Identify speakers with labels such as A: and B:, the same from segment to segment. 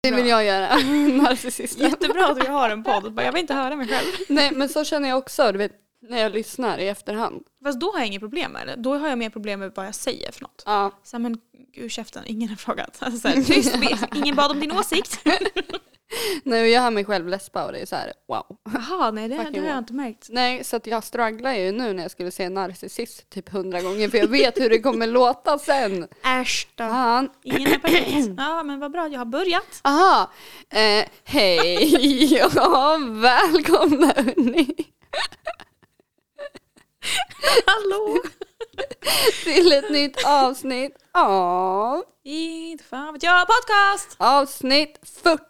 A: Det vill jag göra, narcissisten.
B: Jättebra att vi har en podd. Bara, jag vill inte höra mig själv.
A: Nej men så känner jag också, du vet när jag lyssnar i efterhand.
B: Fast då har jag inget problem med det. Då har jag mer problem med vad jag säger för något.
A: Ja.
B: Så här, men ur käften, ingen har frågat. Alltså, så här, tyst, vi- ingen bad om din åsikt.
A: Nej och jag hör mig själv läspa och det är så här wow.
B: Jaha, nej det, det har jag inte märkt.
A: Nej så att jag strugglar ju nu när jag skulle se narcissist typ hundra gånger för jag vet hur det kommer låta sen.
B: Äsch då.
A: Fan.
B: Ingen är perfekt. Ja, men vad bra, jag har börjat.
A: Aha. Eh, hej ja välkomna hörni
B: Hallå!
A: till ett nytt avsnitt av
B: Inte fan vet jag, podcast!
A: avsnitt 40.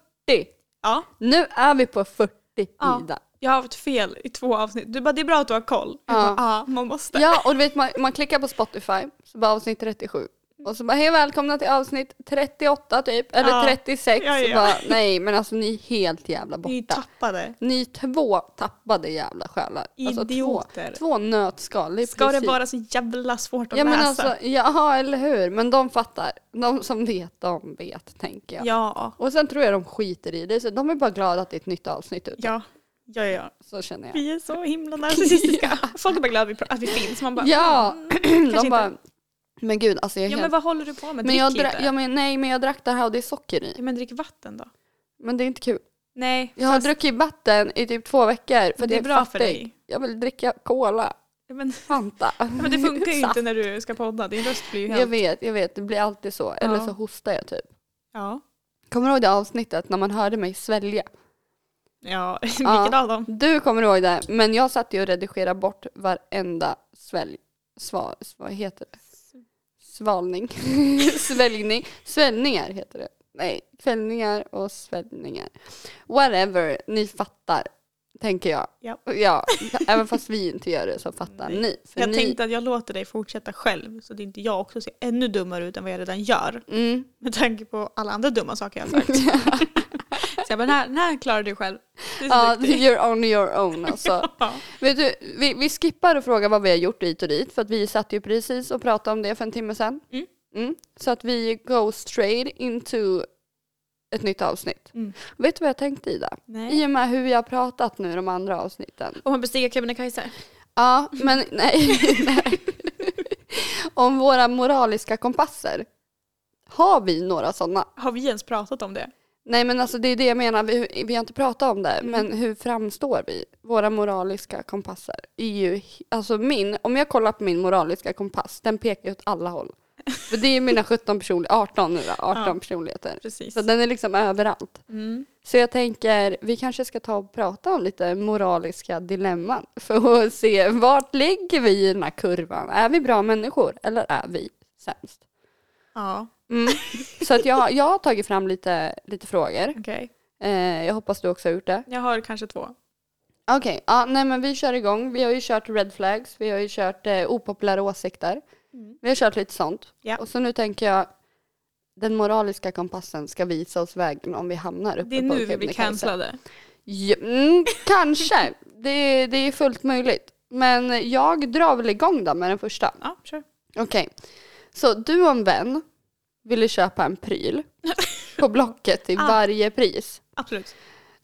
B: Ja,
A: Nu är vi på 40
B: Ja.
A: Ida.
B: jag har haft fel i två avsnitt. Du bara, det är bra att du har koll. Jag
A: Ja.
B: bara, ja, man måste.
A: Ja, och du vet man, man klickar på Spotify, så bara avsnitt 37. Och så bara hej välkomna till avsnitt 38 typ, eller
B: Ja.
A: 36.
B: Ja,
A: Så
B: ja.
A: bara, nej men alltså ni är helt jävla
B: Ni är
A: borta.
B: tappade.
A: Ni är två tappade jävla själar.
B: Idioter.
A: Alltså, två, två nötskal. Det är
B: Ska det
A: precis-
B: vara så jävla svårt att
A: Ja men
B: läsa?
A: alltså, ja eller hur. Men de fattar. De som vet, de vet tänker jag.
B: ja.
A: Och sen tror jag de skiter i det, så de är bara glada att det är ett nytt avsnitt ute.
B: Ja. Ja, ja, ja.
A: Så känner jag.
B: Vi är så himla narcissistiska. Folk är bara glada att vi- att vi finns. Man bara,
A: Ja, de
B: inte.
A: bara, men gud alltså jag är
B: ja
A: helt
B: men vad håller du på med?
A: Men
B: Drick
A: jag
B: inte.
A: dra- ja, men, nej, men jag drack det här och det är socker i.
B: Ja, men drick vatten då.
A: Men det är inte kul.
B: Nej,
A: Jag har
B: fast
A: druckit vatten i typ två veckor för
B: det
A: att
B: är
A: jag
B: bra för
A: fattig.
B: dig.
A: Jag vill dricka cola,
B: ja, men,
A: Fanta.
B: ja, men det funkar ju
A: Saft.
B: inte när du ska podda. Din röst blir ju
A: Jag
B: helt...
A: vet, jag vet. Det blir alltid så. Eller
B: Ja.
A: så hostar jag typ.
B: Ja.
A: Kommer du ihåg det avsnittet när man hörde mig svälja?
B: Ja, vilken
A: Ja.
B: av dem?
A: Du kommer ihåg det, men jag satt ju och redigerade bort varenda svälj... Sva, vad heter det? Svalning. Sväljning. Svällningar heter det. Nej, kvällningar och svällningar. Whatever, ni fattar. Tänker jag.
B: Ja.
A: ja, även fast vi inte gör det så fattar
B: Nej.
A: ni. För
B: Jag
A: ni
B: tänkte att jag låter dig fortsätta själv så att inte jag också ser ännu dummare ut än vad jag redan gör.
A: mm.
B: Med tanke på alla andra dumma saker jag har sagt. så jag bara, den här, den här klarar du själv. Du är så
A: Ja,
B: duktig.
A: you're on your own alltså.
B: Ja.
A: Vet du, vi, vi skippar att fråga vad vi har gjort dit och dit för att vi satt ju precis och pratade om det för en timme sedan.
B: Mm.
A: Så att vi go straight into ett nytt avsnitt.
B: Mm.
A: Vet du vad jag tänkte Ida?
B: Nej.
A: I och med hur vi har pratat nu de andra avsnitten.
B: Om man bestiger Kebnekaise.
A: Ja, men nej. nej. om våra moraliska kompasser. Har vi några sådana?
B: Har vi ens pratat om det?
A: Nej men alltså det är det jag menar, vi, vi har inte pratat om det,
B: Mm.
A: men hur framstår vi? Våra moraliska kompasser är ju, alltså min, om jag kollar på min moraliska kompass, den pekar ju åt alla håll. För det är mina 17 personligheter, 18 nu då, 18
B: Ja.
A: personligheter.
B: Precis.
A: Så den är liksom överallt.
B: Mm.
A: Så jag tänker, vi kanske ska ta och prata om lite moraliska dilemman för att se vart ligger vi i den här kurvan? Är vi bra människor eller är vi sämst?
B: Ja,
A: Mm. Så att jag, jag har tagit fram lite, lite frågor.
B: okej.
A: Eh, jag hoppas du också har gjort det.
B: Jag har kanske två.
A: Okej, ja, nej men vi kör igång. Vi har ju kört red flags, vi har ju kört eh, opopulära åsikter.
B: Mm.
A: Vi har kört lite sånt.
B: Ja.
A: Och så nu tänker jag, den moraliska kompassen ska visa oss vägen om vi hamnar uppe
B: Det är
A: på
B: nu vi blir
A: Kebnekaise.
B: cancellade.
A: Ja, mm, kanske, det, det är fullt möjligt. Men jag drar väl igång då med den första.
B: Ja, sure.
A: Okej, så du och en vän ville köpa en pryl på Blocket till
B: Ah.
A: varje pris.
B: Absolut.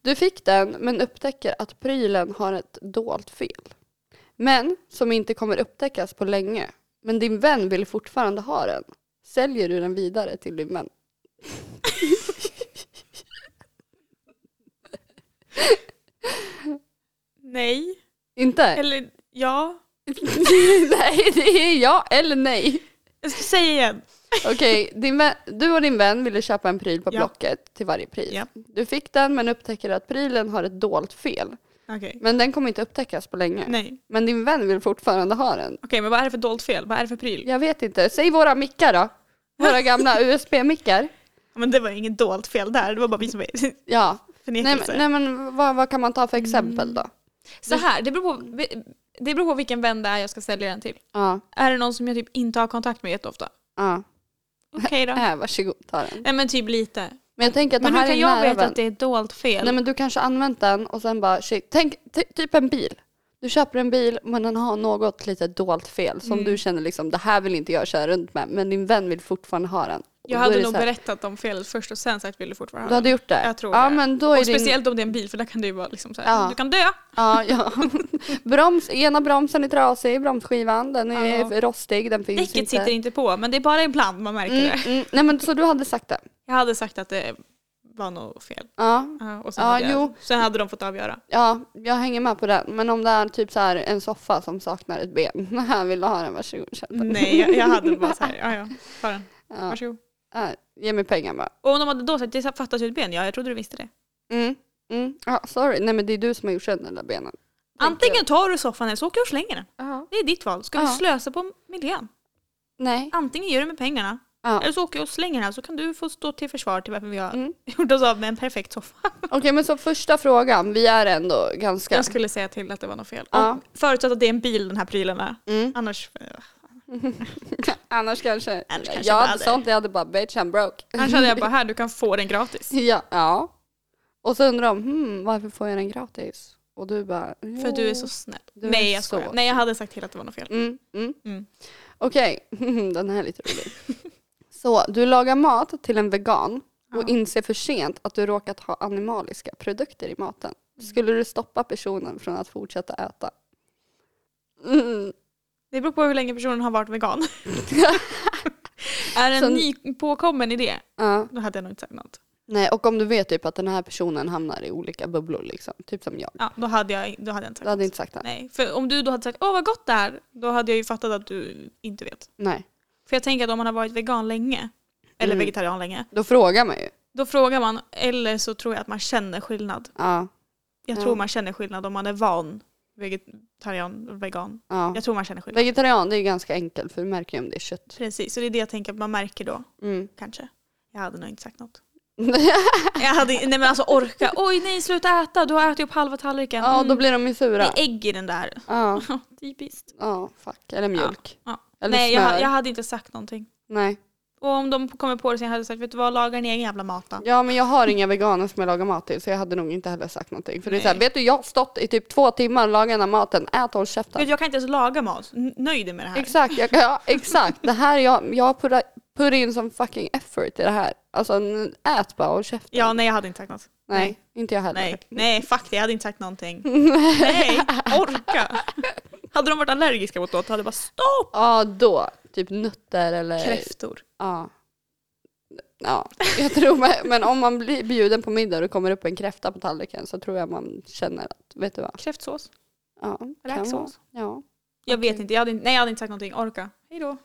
A: Du fick den men upptäcker att prylen har ett dolt fel. Men som inte kommer upptäckas på länge. Men din vän vill fortfarande ha den. Säljer du den vidare till din vän?
B: Nej.
A: Inte?
B: Eller ja.
A: nej, det är ja eller nej.
B: Säg igen.
A: Okej, din vän- du och din vän ville köpa en pryl på
B: Ja.
A: Blocket till varje pris.
B: Ja.
A: Du fick den men upptäcker att prylen har ett dolt fel.
B: Okej.
A: Men den kommer inte upptäckas på länge.
B: Nej. Okej,
A: Men din vän vill fortfarande ha den.
B: men vad är det för dolt fel? Vad är det för pryl?
A: Jag vet inte. Säg våra mickar då. Våra gamla USB-mickar.
B: Ja, Men det var inget dolt fel där. Det var bara vi som förnekelse.
A: Ja. Nej, men, nej, men vad, vad kan man ta för exempel då?
B: Så här, det beror, på, det beror på vilken vän det är jag ska sälja den till.
A: Ja.
B: Är det någon som jag typ inte har kontakt med jätteofta?
A: ja.
B: Okej då.
A: Här, varsågod, ta den.
B: Nej men typ lite.
A: Men jag tänker att
B: Men
A: Äh, det
B: hur
A: här är en
B: kan jag
A: nära
B: veta
A: vän.
B: att det är ett dolt fel?
A: Nej, men du kanske använt den och sen bara shit. Tänk ty- typ en bil. Du köper en bil men den har
B: Mm.
A: något lite dolt fel som du känner liksom det här vill inte jag köra runt med men din vän vill fortfarande ha den.
B: Jag
A: då är
B: hade
A: det
B: nog
A: så här-
B: berättat om felet först och sen sagt vill du fortfarande
A: Du
B: ha
A: hade
B: den.
A: gjort det?
B: Jag tror
A: ja,
B: det.
A: Men då är
B: Och
A: din-
B: speciellt om det är en bil för där kan det ju vara liksom så här,
A: Ja.
B: du kan dö.
A: Ja, ja. Broms, ena bromsen är trasig, bromsskivan. Den är
B: Ja.
A: rostig, den finns
B: Däcket
A: inte.
B: sitter inte på men det är bara ibland man märker
A: mm,
B: det.
A: mm. Nej men så du hade sagt det?
B: Jag hade sagt att det var något fel.
A: Ja.
B: Ja, och sen,
A: Ja,
B: hade
A: jo. Mm.
B: jag, sen hade de fått avgöra.
A: Ja, jag hänger med på den. Men om det är typ så här en soffa som saknar ett ben. Här vill du ha den, varsågod. köp den.
B: Nej, jag, jag hade bara så här, ja ja, ta den,
A: Ja.
B: varsågod.
A: här, Äh, Ge mig pengar bara.
B: Och om de hade då sagt det fattas ju ett ben, ja jag trodde du visste det.
A: Mm. Mm. Ja, sorry, nej men det är du som har gjort sönder den där benen.
B: Antingen tar du soffan eller så åker du och slänger den.
A: Ja.
B: Det är ditt val. Ska
A: Ja.
B: du slösa på miljön?
A: Nej.
B: Antingen gör du med pengarna
A: Ja.
B: eller så åker jag och slänger den här så kan du få stå till försvar till varför vi har
A: Mm.
B: gjort oss av med en perfekt soffa.
A: Okej men så första frågan, vi är ändå ganska...
B: Jag skulle säga till att det var något fel.
A: Ja.
B: Och förutsatt att det är en bil den här prylen är.
A: Mm.
B: Annars,
A: Annars kanske...
B: Annars kanske
A: jag
B: bara
A: hade
B: det.
A: sånt, jag hade bara bitch I'm broke.
B: annars hade jag bara här, du kan få den gratis.
A: Ja. ja. Och så undrar de, hmm, varför får jag den gratis? Och du bara...
B: För att du är
A: "Jo."
B: så snäll.
A: Du är
B: Nej jag
A: så
B: skojar. Nej jag hade sagt till att det var något fel.
A: Mm, mm.
B: Mm.
A: Okej, den här är lite rolig. så, du lagar mat till en vegan och
B: Ja.
A: inser för sent att du råkat ha animaliska produkter i maten.
B: Mm.
A: Skulle du stoppa personen från att fortsätta äta? Mm.
B: Det beror på hur länge personen har varit vegan. är det
A: Så-
B: en nypåkommen idé,
A: Ja.
B: då hade jag nog inte sagt något.
A: Nej, och om du vet typ att den här personen hamnar i olika bubblor, liksom, typ som jag.
B: Ja, då hade jag, då hade jag inte
A: Du
B: sagt
A: hade
B: något.
A: inte sagt det? Nej.
B: Nej, för om du då hade sagt åh vad gott det är, då hade jag ju fattat att du inte vet. För jag tänker att om man har varit vegan länge, eller
A: Mm.
B: vegetarian länge,
A: Då frågar man ju.
B: då frågar man, eller så tror jag att man känner skillnad.
A: Ja,
B: Jag
A: Ja.
B: tror man känner skillnad om man är van vegetarian och vegan.
A: ja.
B: Jag tror man känner skillnad.
A: Vegetarian, det är ju ganska enkelt för du märker ju om det är kött.
B: Precis, så det är det jag tänker att man märker då,
A: Mm.
B: kanske. Jag hade nog inte sagt något. Jag hade, nej men alltså orka. Oj nej sluta äta, du har ätit upp halva tallriken.
A: ja, då
B: Mm,
A: blir de ju
B: det
A: sura.
B: är ägg i den där.
A: Ja.
B: Typiskt.
A: Ja, fuck. Eller mjölk.
B: Ja,
A: Eller
B: nej
A: smör.
B: jag, jag hade inte sagt någonting.
A: Nej.
B: Och om de kommer på det sen hade jag sagt vet du vad, laga din egen jävla mat då.
A: Ja, men jag har inga veganer som jag lagar mat till så jag hade nog inte heller sagt någonting. För det är så här,
B: Nej.
A: vet du, jag har stått i typ två timmar och lagat den här maten. Ät håll
B: Vet du,
A: käften.
B: Jag kan inte ens laga mat, N- nöjd är med det här.
A: Exakt, jag, ja, exakt. Det här jag, jag har putta- put in som fucking effort i det här. Alltså, n- ät bara och käften.
B: Ja nej jag hade inte sagt något.
A: nej, inte jag heller.
B: Nej, nej fuck det, jag hade inte sagt någonting. nej, orka. Hade de varit allergiska mot något hade jag bara stopp.
A: Ja, då. Typ nötter eller...
B: Kräftor.
A: Ja. Ja, jag tror med, men om man blir bjuden på middag och det kommer upp en kräfta på tallriken så tror jag man känner att, vet du vad?
B: Kräftsås.
A: Ja, kan vara.
B: Räksås.
A: Ja.
B: Jag
A: Okej.
B: vet inte, jag hade, inte- nej jag hade inte sagt någonting, orka. Hejdå.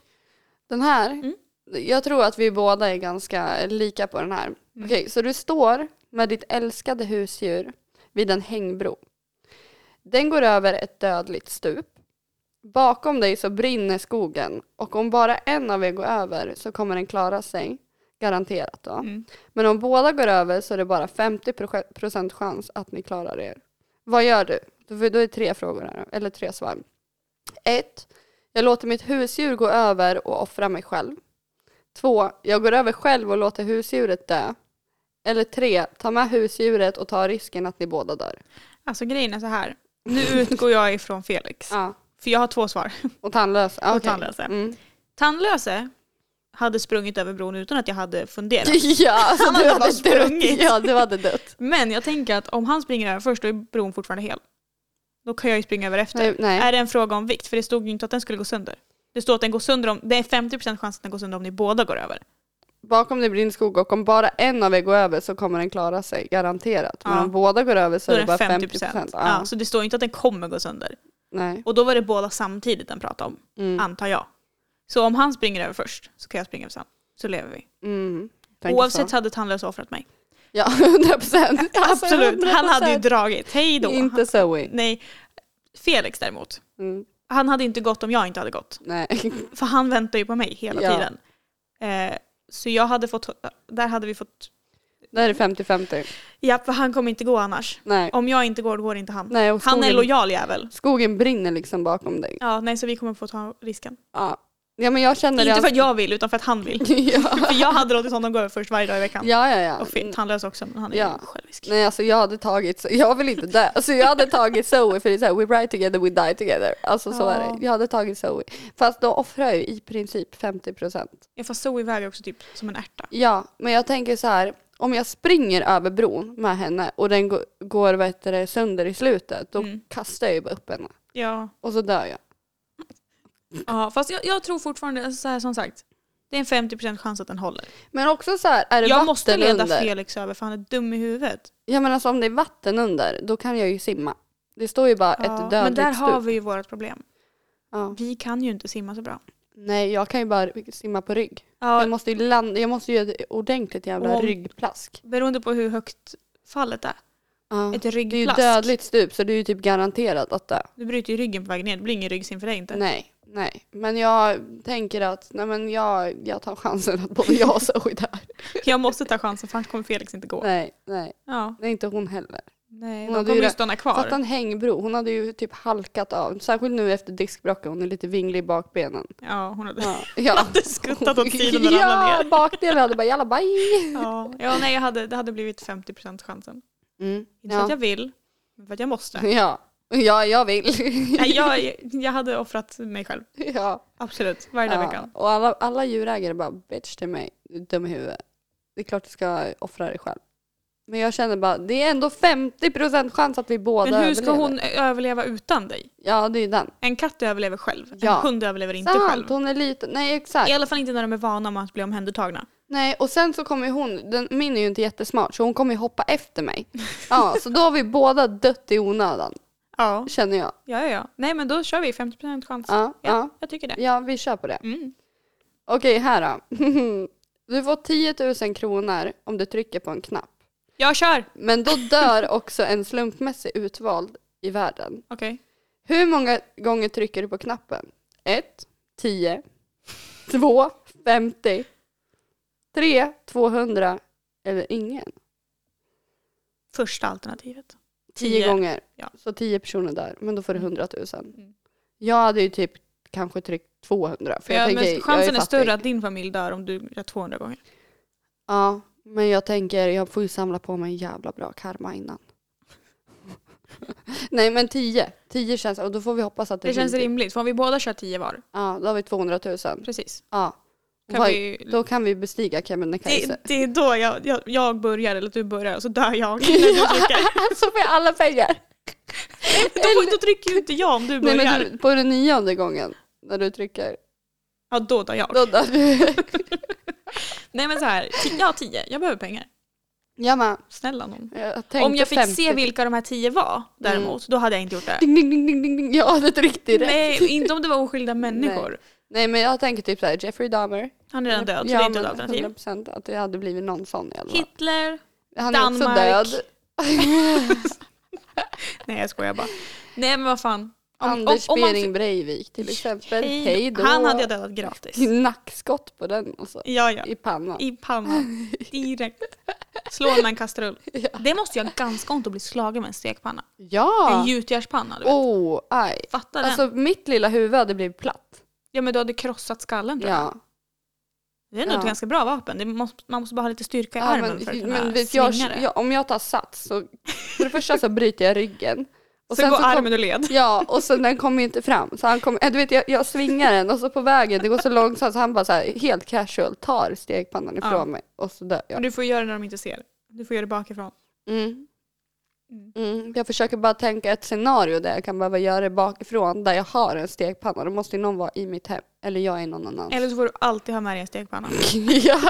A: Den här,
B: Mm.
A: jag tror att vi båda är ganska lika på den här.
B: Mm.
A: Okej, så du står med ditt älskade husdjur vid en hängbro. Den går över ett dödligt stup. Bakom dig så brinner skogen och om bara en av er går över så kommer den klara sig. Garanterat då.
B: Mm.
A: Men om båda går över så är det bara 50% chans att ni klarar er. Vad gör du? Då- Då är det tre frågor här, eller tre svar. Ett, Jag låter mitt husdjur gå över och offra mig själv. Två, Jag går över själv och låter husdjuret dö. Eller tre, Ta med husdjuret och ta risken att ni båda dör.
B: Alltså grejen är så här. Nu utgår jag ifrån Felix.
A: Ja.
B: För jag har två svar.
A: Och tandlös. Ja,
B: Och
A: okej.
B: tandlösa.
A: Mm.
B: Tandlöse hade sprungit över bron utan att jag hade funderat.
A: Ja, alltså,
B: Han
A: du
B: hade
A: hade
B: bara
A: dött.
B: sprungit.
A: Ja, du hade dött.
B: Men jag tänker att om han springer över först då är bron fortfarande hel. Då kan jag ju springa över efter.
A: Nej, nej.
B: Är det en fråga om vikt? För det stod ju inte att den skulle gå sönder. Det står att den går sönder om, det är 50% chans att den går sönder om ni båda går över.
A: Bakom dig brinner skog och om bara en av er går över så kommer den klara sig, garanterat. Men
B: Ja.
A: om båda går över så
B: Då
A: är
B: är
A: det bara
B: den
A: 50
B: 50%.
A: procent.
B: Ja, så det står ju inte att den kommer gå sönder.
A: Nej.
B: Och då var det båda samtidigt den pratade om,
A: Mm.
B: antar jag. Så om han springer över först så kan jag springa över sen. Så lever vi.
A: Mm. Tänker
B: Oavsett
A: så.
B: så hade tandlösa offrat mig.
A: Ja, 100 procent.
B: Absolut, han hade ju dragit. Hej då.
A: Inte Zoe.
B: Nej, Felix däremot.
A: Mm.
B: Han hade inte gått om jag inte hade gått.
A: Nej.
B: För han väntar ju på mig hela
A: Ja.
B: tiden. Eh, så jag hade fått, där hade vi fått,
A: Där är 50-50.
B: ja för han kommer inte gå annars.
A: Nej.
B: Om jag inte går, då går inte han.
A: Nej, och
B: Han är
A: skogen-
B: lojal jävel.
A: Skogen brinner liksom bakom dig.
B: Ja, nej så vi kommer få ta risken.
A: Ja. Ja men jag känner
B: Inte
A: redan-
B: för att jag vill utan för att han vill.
A: ja.
B: för jag hade låtit honom gå över först varje dag i veckan.
A: ja, ja, ja.
B: Och fint, han lös också men han är
A: Ja.
B: ju självisk.
A: Nej alltså jag hade tagit, jag vill inte dö. Alltså jag hade tagit Zoe för det är såhär, we ride together, we die together. Alltså så
B: Ja.
A: är det. Jag hade tagit Zoe. Fast då offrar jag ju i princip 50%.
B: Ja, fast Zoe väger också typ som en ärta.
A: Ja, men jag tänker så här. Om jag springer över bron med henne och den go- går vad heter det, sönder i slutet, då
B: Mm.
A: kastar jag ju bara upp henne.
B: Ja.
A: Och så dör jag.
B: ja fast jag, jag tror fortfarande, alltså så här, som sagt. Det är en 50% chans att den håller.
A: Men också så här, är det
B: Jag
A: vatten
B: måste leda
A: under.
B: Felix över för han är dum i huvudet.
A: Ja men alltså om det är vatten under, då kan jag ju simma. Det står ju bara
B: Ja,
A: ett
B: men
A: dödligt
B: där har
A: stup.
B: vi ju vårt problem.
A: Ja.
B: Vi kan ju inte simma så bra.
A: Nej, jag kan ju bara simma på rygg. Jag
B: Ja,
A: måste ju landa, jag måste ju göra ett ordentligt jävla
B: Om-
A: ryggplask.
B: beroende på hur högt fallet är.
A: Ja.
B: Ett
A: Det är ju
B: ryggplask.
A: dödligt stup så det är ju typ garanterat att dö.
B: Du bryter ju ryggen på vägen ner. Det blir ingen ryggsim för dig inte.
A: Nej, nej. Men jag tänker att nej men jag, jag tar chansen att både jag och Zoe dör.
B: Jag måste ta chansen för annars kommer Felix inte gå.
A: Nej, nej.
B: Ja,
A: Det är inte hon heller.
B: nej.
A: Hon
B: De
A: hade
B: kommer
A: ju
B: ju
A: det-
B: stanna
A: Fatta
B: kvar.
A: en hängbro. Hon hade ju typ halkat av. Särskilt nu efter diskbråcket. Hon är lite vinglig i bakbenen.
B: Ja, hon hade,
A: Ja. ja.
B: hade skuttat åt sidan och ramlat
A: Ja,
B: ner.
A: bakdelen hade bara jalla baj.
B: Ja, ja nej, jag hade, det hade blivit 50% chansen.
A: Mm.
B: Inte för att
A: Ja.
B: jag vill, men för att jag måste.
A: ja. Ja, jag vill.
B: Nej, jag, jag hade offrat mig själv.
A: ja.
B: Absolut, varje dag i
A: ja.
B: veckan.
A: Och alla, alla djurägare bara bitch till mig, du är dum i huvudet. Det är klart du ska offra dig själv. Men jag känner bara, det är ändå 50% chans att vi båda
B: Men hur ska
A: överlever.
B: hon överleva utan dig?
A: Ja, det är ju den.
B: En katt överlever själv. En
A: Ja.
B: hund överlever inte
A: Sant,
B: själv.
A: hon är liten. Nej,
B: I
A: exakt.
B: alla fall inte när de är vana om att bli omhändertagna.
A: Nej, och sen så kommer ju hon, den, min är ju inte jättesmart, så hon kommer ju hoppa efter mig. Ja, så då har vi båda dött i onödan,
B: Ja,
A: känner jag.
B: ja, ja. ja. Nej, men då kör vi 50% chans. Ja.
A: Ja, ja.
B: jag tycker det.
A: ja vi kör på det.
B: Mm.
A: Okej, här då. Du får 10 000 kronor om du trycker på en knapp.
B: Jag kör!
A: Men då dör också en slumpmässig utvald i världen.
B: Okej.
A: Hur många gånger trycker du på knappen? 1, 10, 2, 50, 3, 200 eller ingen.
B: Första alternativet.
A: 10
B: Tio.
A: gånger.
B: Ja.
A: Så 10 personer dör, men då får du 100 000.
B: Mm.
A: Jag hade ju typ kanske tryckt 200. För
B: ja,
A: jag
B: men
A: tänker,
B: chansen
A: jag
B: är,
A: fattig.
B: större att din familj dör om du gör 200 gånger.
A: Ja, men jag tänker jag får ju samla på mig en jävla bra karma innan. Nej men 10. 10 känns, och då får vi hoppas att det,
B: Det känns
A: blir-
B: rimligt, för om vi båda kör 10 var,
A: Ja, då har vi 200 000.
B: precis.
A: Ja.
B: Kan
A: Vad-
B: vi...
A: Då kan vi bestiga
B: det,
A: Kebnekaise.
B: det är då jag, jag, jag börjar, eller du börjar, och så dör jag. När du trycker.
A: Så får jag alla pengar.
B: då, får- då trycker ju inte jag om du
A: Nej,
B: börjar.
A: men du, på den nionde gången när du trycker,
B: Ja, då dör jag.
A: då dör du.
B: Nej men så här, ti- jag har 10, jag behöver pengar.
A: Ja, men,
B: Snälla någon.
A: jag tänkte
B: Om jag fick
A: 50.
B: se vilka de här 10 var däremot, då hade jag inte gjort det.
A: Ding, ding, ding, ding, ding, ding. Jag hade tryckt Mm. direkt. Nej.
B: Nej, inte om det var oskyldiga människor.
A: Nej men jag tänker typ såhär Jeffrey Dahmer.
B: Han är redan död, så det är
A: ja,
B: inte ett
A: men
B: alternativ.
A: 100% att det hade blivit någon sån i alla fall.
B: Hitler.
A: Han är också
B: Danmark.
A: död.
B: Nej jag skojar bara. Nej men vad fan.
A: Anders
B: om man-
A: Behring Breivik till exempel.
B: Hej då.
A: Hej då.
B: Han hade jag dödat gratis.
A: Nackskott på den alltså.
B: Ja, ja.
A: I pannan.
B: I pannan. Direkt. Slå med en kastrull. Det måste jag ganska ont att bli slagen med en stekpanna. En
A: Ja!
B: gjutjärnspanna, du vet.
A: Oh, aj.
B: Fatta Typ. den.
A: Alltså mitt lilla huvud hade blivit platt.
B: Ja men du hade krossat skallen tror jag.
A: Ja.
B: Det är nog ett
A: Ja.
B: ganska bra vapen. Det måste, man måste bara ha lite styrka i
A: Ja,
B: armen för att
A: men,
B: kunna
A: men vet
B: svinga
A: jag,
B: det.
A: jag, om jag tar sats så för det första så bryter jag ryggen.
B: så går
A: så
B: armen
A: kom,
B: ur led.
A: Ja, och sen den kommer ju inte fram. Så han kom, äh, du vet, jag, jag svingar den och så på vägen, det går så långsamt så han bara så här, helt casual tar stegpannan ifrån
B: Ja.
A: mig och så dör
B: Men
A: jag.
B: du får göra det när de inte ser. Du får göra det bakifrån.
A: Mm. Mm. Jag försöker bara tänka ett scenario där jag kan behöva göra det bakifrån där jag har en stekpanna. Då måste ju någon vara i mitt hem eller jag är någon annans.
B: Eller så får du alltid ha med dig en stekpanna.
A: ja,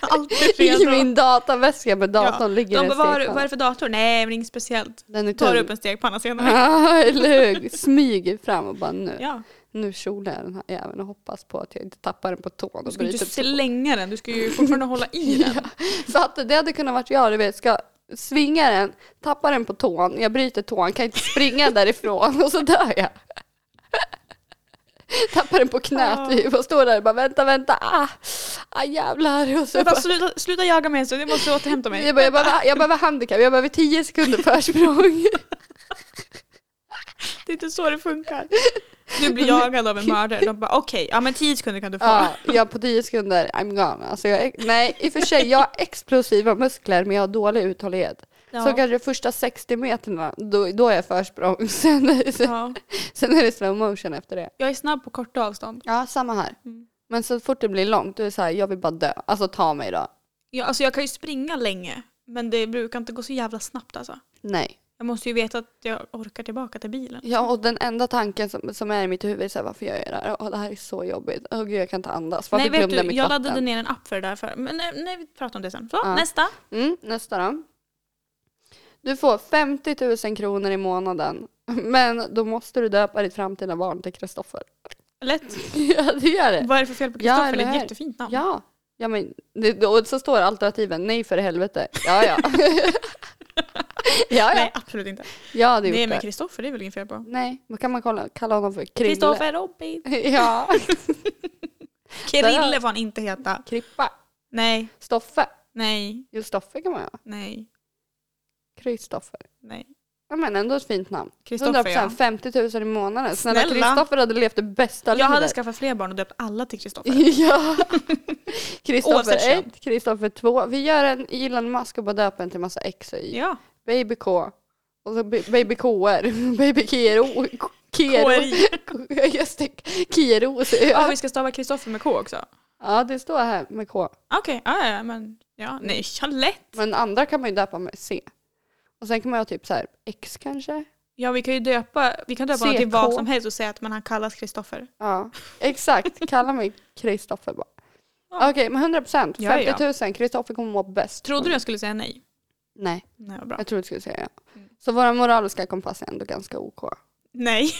B: alltid
A: I
B: fredag.
A: min dataväska med
B: Ja.
A: datorn ligger
B: De
A: en
B: bara, vad har du-
A: stekpanna.
B: vad är det för dator? Nej men inget speciellt.
A: Den är
B: Tar
A: tung.
B: upp en stekpanna senare.
A: Ja, eller hur? Smyger fram och bara nu,
B: Ja.
A: nu kjolar jag den här jäveln och hoppas på att jag inte tappar den på tån.
B: Du
A: Och
B: ska ju inte
A: bryter
B: slänga den, du ska ju fortfarande hålla i den.
A: Så att det hade kunnat varit jag, du vet, ska svinga den, tappa den på tån, jag bryter tån, kan inte springa därifrån och så dör jag. Tappar den på knät typ och står där och bara vänta, vänta, ah, ah jävlar. Och så
B: Jag bara,
A: bara,
B: sluta, sluta jaga mig så jag måste återhämta mig.
A: jag, bara, jag, behöver, jag behöver handikapp, jag behöver tio sekunder försprång.
B: Det är inte så det funkar. Du blir jagad av en mördare. De bara okej, ja men 10 sekunder kan du få.
A: Ja, jag på 10 sekunder, I'm gone. Alltså jag, nej, i och för sig, jag har explosiva muskler men jag har dålig uthållighet.
B: Ja.
A: Så kanske första 60 meterna, då, då är jag försprång. Sen, sen,
B: ja.
A: sen är det slow motion efter det.
B: Jag är snabb på korta avstånd.
A: Ja, samma här.
B: Mm.
A: Men så fort det blir långt, då är det så här, jag vill bara dö. Alltså ta mig då.
B: Ja, alltså jag kan ju springa länge men det brukar inte gå så jävla snabbt alltså.
A: Nej.
B: Jag måste ju veta att jag orkar tillbaka till bilen.
A: Ja, och den enda tanken som, som är i mitt huvud är så här, varför gör jag det här? Åh, det här är så jobbigt. Åh gud, jag kan inte andas. Varför
B: Nej vet
A: glömde
B: du,
A: jag mitt
B: jag
A: vatten?
B: laddade ner en app för det där för. Men nej, nej vi pratar om det sen. Så,
A: Ja.
B: nästa.
A: Mm, nästa då. Du får 50 000 kronor i månaden. Men då måste du döpa ditt framtida barn till Kristoffer.
B: Lätt.
A: Ja, det gör det.
B: Vad är det för fel på
A: Ja,
B: Kristoffer?
A: eller
B: det är
A: hur?
B: ett jättefint namn.
A: Ja. Ja, men, det, och så står alternativen, nej för helvete. Ja, ja. ja, ja.
B: Nej absolut inte.
A: Jag hade
B: Nej
A: gjort
B: men
A: det.
B: Kristoffer det är väl inget fel på.
A: Nej, vad kan man kalla, kalla honom för? Krille?
B: Kristoffer Robin.
A: Ja.
B: Krille får han inte heta.
A: Krippa.
B: Nej,
A: Stoffe.
B: nej,
A: Jo, Stoffe kan man ha.
B: nej,
A: Kristoffer.
B: nej.
A: Ja, men ändå ett fint namn.
B: Kristoffer
A: 100
B: ja.
A: 50 000 i månaden. Snälla,
B: Snälla.
A: Kristoffer hade levt det bästa
B: Jag hade
A: livet.
B: skaffat fler barn och döpt alla till Kristoffer.
A: Ja.
B: Oavsett
A: Kristoffer
B: kön.
A: 1, Kristoffer 2. Vi gör en Elon Musk och bara döper en till massa X och Y.
B: Ja,
A: Baby K. Och så ba- Baby KR. Baby KRO. KRO.
B: KRI.
A: Just det. KRO. så-
B: Ja,
A: Ja.
B: vi ska stava Kristoffer med K också.
A: ja, det står här med K.
B: Okej, ja, ja, ja, men ja, nej, ja, lätt.
A: Men andra kan man ju döpa med C. Och sen kan man ha typ så här X kanske.
B: Ja, vi kan ju döpa, vi kan döpa honom till
A: CK.
B: vad som helst och säga att man, han kallas Kristoffer.
A: Ja, exakt. Kalla mig Kristoffer bara.
B: Ja.
A: Okej, men 100 procent.
B: Ja, ja.
A: 50 000. Kristoffer kommer må bäst.
B: Trodde du jag skulle säga nej?
A: Nej,
B: Nej, vad bra.
A: jag trodde du skulle säga ja.
B: Mm.
A: Så våra moraliska kompass är ändå ganska OK.
B: Nej.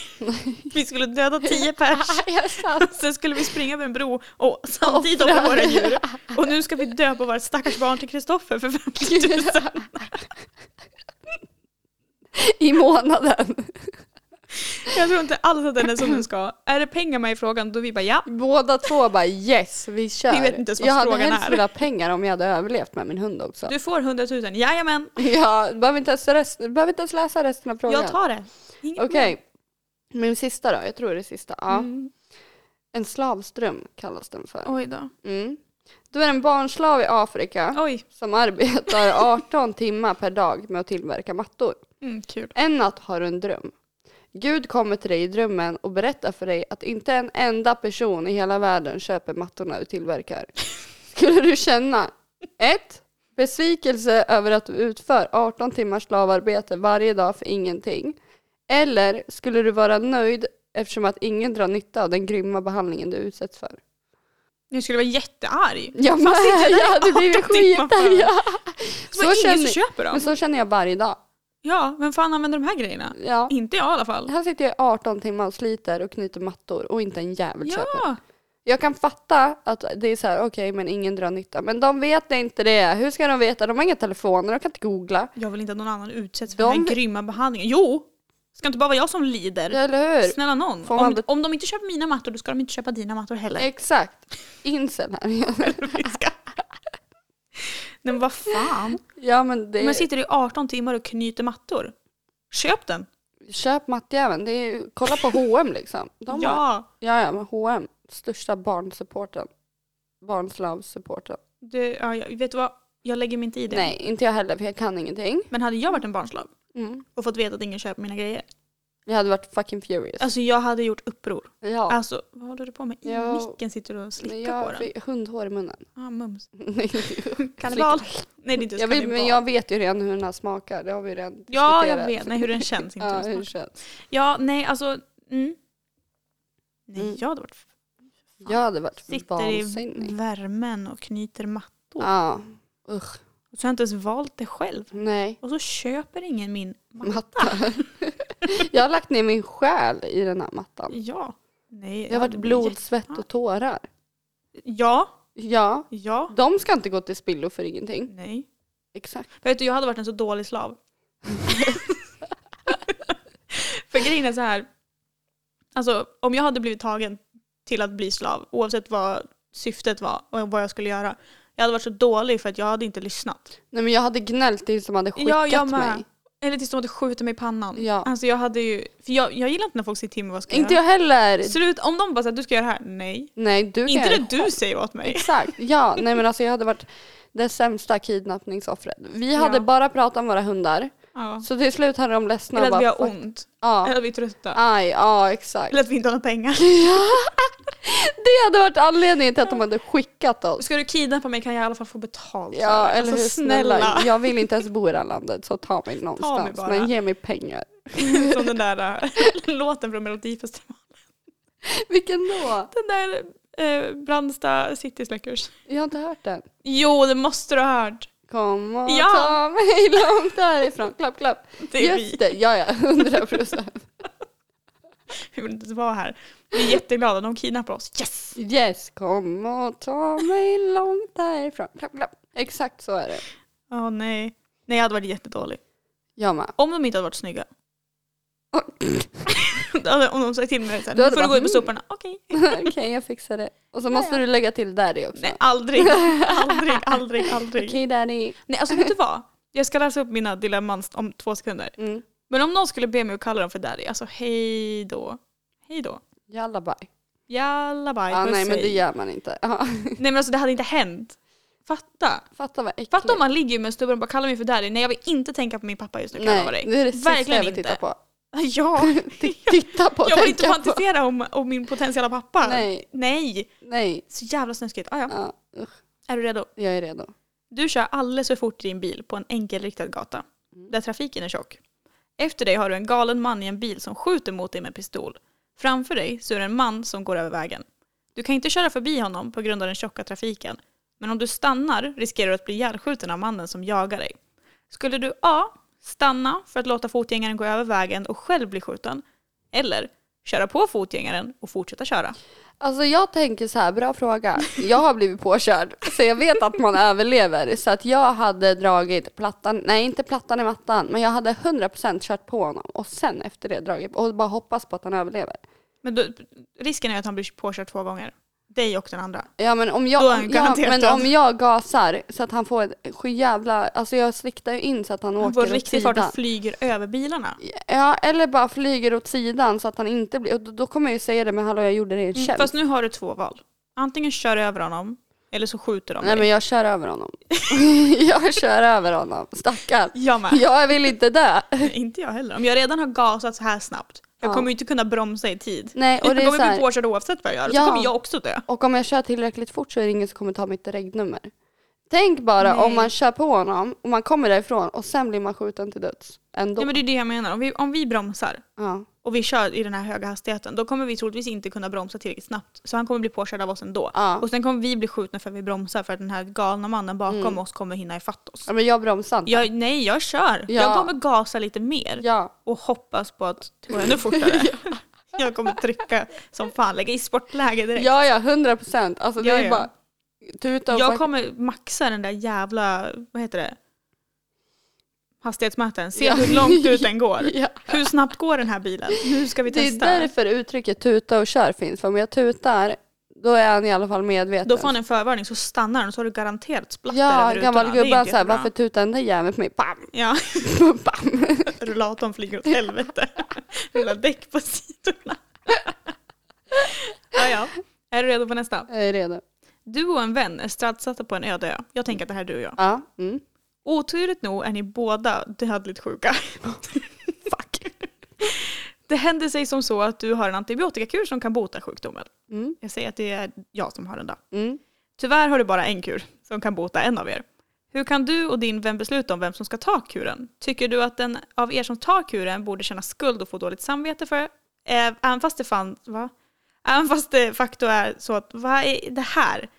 B: Vi skulle döda tio pers.
A: jag satt.
B: Sen skulle vi springa över en bro och samtidigt offra våra djur. Och nu ska vi döpa vårt stackars barn till Kristoffer för 50 000.
A: I månaden.
B: Jag tror inte alls att den är som den ska. Är det pengar med i frågan då vi bara ja.
A: Båda två bara yes, vi kör.
B: Vi vet inte ens vad
A: jag hade
B: frågan
A: helst
B: är.
A: velat ha pengar om jag hade överlevt med min hund också.
B: Du får 100 000, jajamän.
A: Ja, du behöver inte, ens rest, du behöver inte ens läsa resten av frågan.
B: Jag tar det. Inga
A: Okej. Min sista då, jag tror det är sista. Ja.
B: problem. Mm.
A: En slavström kallas den för.
B: Oj då.
A: Mm. Du är en barnslav i Afrika
B: Oj.
A: som arbetar 18 timmar per dag med att tillverka mattor.
B: Mm, kul.
A: En natt har du en dröm. Gud kommer till dig i drömmen och berättar för dig att inte en enda person i hela världen köper mattorna du tillverkar. Skulle du känna 1. Besvikelse över att du utför 18 timmars slavarbete varje dag för ingenting. Eller skulle du vara nöjd eftersom att ingen drar nytta av den grymma behandlingen du utsätts för.
B: Nu skulle jag vara jättearg.
A: Ja, men, jag hade blivit
B: 18 timmar
A: skit där,
B: för.
A: ja.
B: Så ingen som
A: känner,
B: köper dem.
A: men så känner jag varje dag.
B: Ja, vem fan använder de här grejerna?
A: Ja.
B: Inte jag i alla fall.
A: Här sitter jag i 18 timmar och sliter och knyter mattor och inte en jävel köper.
B: Ja,
A: Jag kan fatta att det är så här, okej men ingen drar nytta. Men de vet inte det. Hur ska de veta? De har inga telefoner, de kan inte googla.
B: jag vill inte att någon annan utsätts för
A: De
B: den här
A: vill-
B: grymma behandlingen. Jo! Ska inte bara vara jag som lider?
A: Eller hur?
B: Snälla någon.
A: Får man
B: Om,
A: bet-
B: om de inte köper mina mattor då ska de inte köpa dina mattor heller.
A: Exakt. Incel här.
B: Fiska. Nej men vad fan.
A: ja men det
B: Men sitter i 18 timmar och knyter mattor. Köp den!
A: Köp mattjäveln. Det är ju... Kolla på H&M liksom. De ja. Har...
B: ja!
A: ja ja men H&M. Största barnsupporten. Barnslavsupporten.
B: Det, ja, jag, vet du vad? Jag lägger mig inte i det.
A: Nej inte jag heller för jag kan ingenting.
B: Men hade jag varit en barnslav
A: Mm.
B: och fått veta att ingen köper mina grejer.
A: Jag hade varit fucking furious.
B: Alltså jag hade gjort uppror.
A: ja.
B: Alltså vad håller du på med? I
A: Jag-
B: micken sitter du och slickar
A: Men jag
B: på den.
A: fick hundhår i munnen.
B: Ah, mums.
A: Nej.
B: Kannibal. Nej det är inte
A: jag, vet,
B: vet,
A: men jag vet ju redan hur den här smakar. Det har vi ju redan
B: Ja jag
A: diskuterat.
B: vet. Nej hur den känns. Inte
A: Ja,
B: hur den
A: hur
B: smakar.
A: känns.
B: ja nej alltså. Mm. Nej
A: Mm.
B: jag hade varit
A: Jag hade varit
B: Sitter i
A: vansinnig.
B: värmen och knyter mattor.
A: Ja. Usch.
B: Och så har jag inte ens valt det själv.
A: Nej.
B: Och så köper ingen min matta.
A: Mattan. jag har lagt ner min själ i den här mattan.
B: Ja. Nej,
A: Det har varit
B: hade
A: blod,
B: blivit
A: svett och tårar.
B: jätte- Ja,
A: Ja.
B: ja,
A: De ska inte gå till spillo för ingenting.
B: nej.
A: Exakt.
B: Vet du, jag hade varit en så dålig slav. För grejen är så här. Alltså om jag hade blivit tagen till att bli slav, oavsett vad syftet var och vad jag skulle göra. Jag hade varit så dålig för att jag hade inte lyssnat.
A: Nej men jag hade gnällt tills de hade skickat
B: Ja, jag med.
A: mig.
B: Eller tills de hade skjutit mig i pannan.
A: Ja.
B: Alltså jag hade ju, för jag, jag gillar inte när folk säger till mig vad jag ska
A: Inte
B: göra.
A: jag heller.
B: Absolut, om de bara säger du ska göra det här, nej.
A: Nej, du kan
B: Inte
A: göra
B: det du säger åt mig.
A: Exakt, ja. Nej men alltså jag hade varit det sämsta kidnappningsoffret. Vi hade
B: Ja.
A: bara pratat om våra hundar.
B: Ja.
A: Så till slut hade de ledsnat
B: Eller att vi har
A: "Fuck."
B: ont.
A: Ja.
B: Eller att vi är trötta.
A: Aj, ja exakt.
B: Eller att vi inte har några pengar.
A: Det hade varit anledningen till att de hade skickat oss.
B: Ska du kidnappa mig kan jag i alla fall få betalt. för
A: Ja
B: det.
A: eller
B: alltså,
A: hur snälla. Jag vill inte ens bo i det här landet så ta mig någonstans.
B: bara.
A: men ge mig pengar.
B: Som den där äh, låten från Melodifestivalen.
A: Vilken då?
B: Den där eh, Brandsta City Släckers.
A: Jag har inte hört den.
B: Jo, det måste du ha hört.
A: Kom och
B: Ja.
A: ta mig långt därifrån. Klapp klapp.
B: Det är vi.
A: Just det, ja ja. Hundra procent.
B: Vi vill inte ens vara här. Vi är jätteglada. De kidnappar oss. Yes!
A: Yes, kom och ta mig långt därifrån. Klapp, klapp. Exakt så är det.
B: Åh nej. Nej, jag hade varit jättedålig.
A: Jag med.
B: Om de inte hade varit snygga.
A: Åh.
B: Om de sa till mig så här,
A: Då
B: nu
A: hade
B: får
A: bara,
B: du gå ut
A: mm.
B: med soporna. Okej.
A: Okej, jag fixar det. Och så måste du lägga till daddy också.
B: Nej, aldrig. Aldrig, aldrig, aldrig.
A: Okej daddy.
B: Nej, alltså vet du vad? Jag ska läsa upp mina dilemman om två sekunder.
A: Mm.
B: Men om någon skulle be mig att kalla dem för daddy, alltså hej då. Hej då.
A: Jalla bye.
B: Jalla bye,
A: Ah,
B: puss,
A: nej men
B: hej.
A: det gör man inte. Ja.
B: Nej men alltså det hade inte hänt. Fatta.
A: Fatta vad äckligt.
B: Fatta om man ligger med en snubbe och bara kallar mig för daddy. Nej jag vill inte tänka på min pappa just nu kan jag
A: Nej,
B: lova dig.
A: det är det sista
B: Verkligen
A: jag vill titta
B: inte.
A: på.
B: Ja,
A: T- titta på,
B: jag vill inte
A: tänka på.
B: fantisera om, om min potentiella pappa.
A: Nej.
B: Nej.
A: Nej,
B: Så jävla snuskigt. Ah, ja.
A: ja, usch,
B: Är du redo?
A: jag är redo.
B: Du kör alldeles för fort i din bil på en enkelriktad gata där trafiken är tjock. Efter dig har du en galen man i en bil som skjuter mot dig med pistol. Framför dig så är det en man som går över vägen. Du kan inte köra förbi honom på grund av den tjocka trafiken. Men om du stannar riskerar du att bli ihjälskjuten av mannen som jagar dig. Skulle du A. Stanna för att låta fotgängaren gå över vägen och själv bli skjuten. Eller köra på fotgängaren och fortsätta köra.
A: Alltså jag tänker så här, bra fråga. Jag har blivit påkörd, så jag vet att man överlever. Så att jag hade dragit plattan, nej inte plattan i mattan, men jag hade 100% kört på honom och sen efter det dragit och bara hoppas på att han överlever.
B: Men då, risken är att han blir påkörd två gånger. Dig och den andra.
A: Ja men om
B: Då är han
A: jag, ja,
B: garanterat
A: men
B: död.
A: om jag gasar så att han får ett sjujävla, alltså jag sviktar ju in så att han,
B: Han
A: åker
B: får
A: åt
B: riktigt fart
A: sidan.
B: och flyger över bilarna.
A: Ja eller bara flyger åt sidan så att han inte blir, och då, då kommer jag ju säga det men hallå jag gjorde det i en tjänst.
B: Mm, Fast nu har du två val. Antingen kör du över honom eller så skjuter de
A: nej
B: dig.
A: men jag kör över honom. jag kör över honom, stackarn.
B: Jag med.
A: Jag vill inte dö.
B: inte jag heller. Om jag redan har gasat så här snabbt, jag
A: Ja.
B: kommer ju inte kunna bromsa i tid.
A: Nej, och
B: jag
A: det är så
B: kommer bli
A: här,
B: påkörd oavsett vad jag gör.
A: Ja.
B: Så kommer jag också dö.
A: och om jag kör tillräckligt fort så är det ingen som kommer ta mitt regnummer. Tänk bara
B: Nej.
A: om man kör på honom och man kommer därifrån och sen blir man skjuten till döds ändå.
B: Ja,
A: Ja,
B: men det är det jag menar. Om vi, om vi bromsar och vi kör i den här höga hastigheten, då kommer vi troligtvis inte kunna bromsa tillräckligt snabbt. Så han kommer bli påkörd av oss ändå.
A: Ja.
B: Och sen kommer vi bli skjutna för att vi bromsar för att den här galna mannen bakom
A: Mm.
B: oss kommer hinna ifatt oss.
A: Ja, men jag bromsar inte.
B: Jag, nej, jag kör.
A: Ja.
B: Jag kommer gasa lite mer.
A: Ja.
B: och hoppas på att det går ännu fortare. Jag kommer trycka som fan, lägga i sportläge direkt.
A: Ja, ja, hundra procent. Alltså det
B: Ja,
A: är
B: ja.
A: bara tuta och
B: Jag
A: fuck-
B: kommer maxa den där jävla, vad heter det? Hastighetsmätaren, se
A: Ja.
B: hur långt ut den går.
A: Ja.
B: Hur snabbt går den här bilen? Nu ska vi
A: Det är
B: testa.
A: därför uttrycket tuta och kör finns. För om jag tutar, då är han i alla fall medveten.
B: Då får han en förvarning så stannar den och så har du garanterat splatter
A: Ja,
B: över
A: gammal
B: rutorna. Det är
A: gubbe
B: inte
A: såhär,
B: jättebra.
A: varför tutar den där jäveln på mig? Bam!
B: Ja,
A: Bam!
B: rullatorn flyger åt helvete. Rulla däck på sidorna. ja, ja. Är du redo på nästa?
A: Jag är redo.
B: Du och en vän är strandsatta på en öde ö. Jag tänker att det här är du och jag.
A: Ja. Mm.
B: Oturligt nog är ni båda dödligt sjuka. Fuck. Det händer sig som så att du har en antibiotikakur som kan bota sjukdomen.
A: Mm.
B: Jag säger att det är jag som har den då.
A: Mm.
B: Tyvärr har du bara en kur som kan bota en av er. Hur kan du och din vän besluta om vem som ska ta kuren? Tycker du att den av er som tar kuren borde känna skuld och få dåligt samvete för eh, även fast det fan, va? Även fast det facto är så att vad är det här?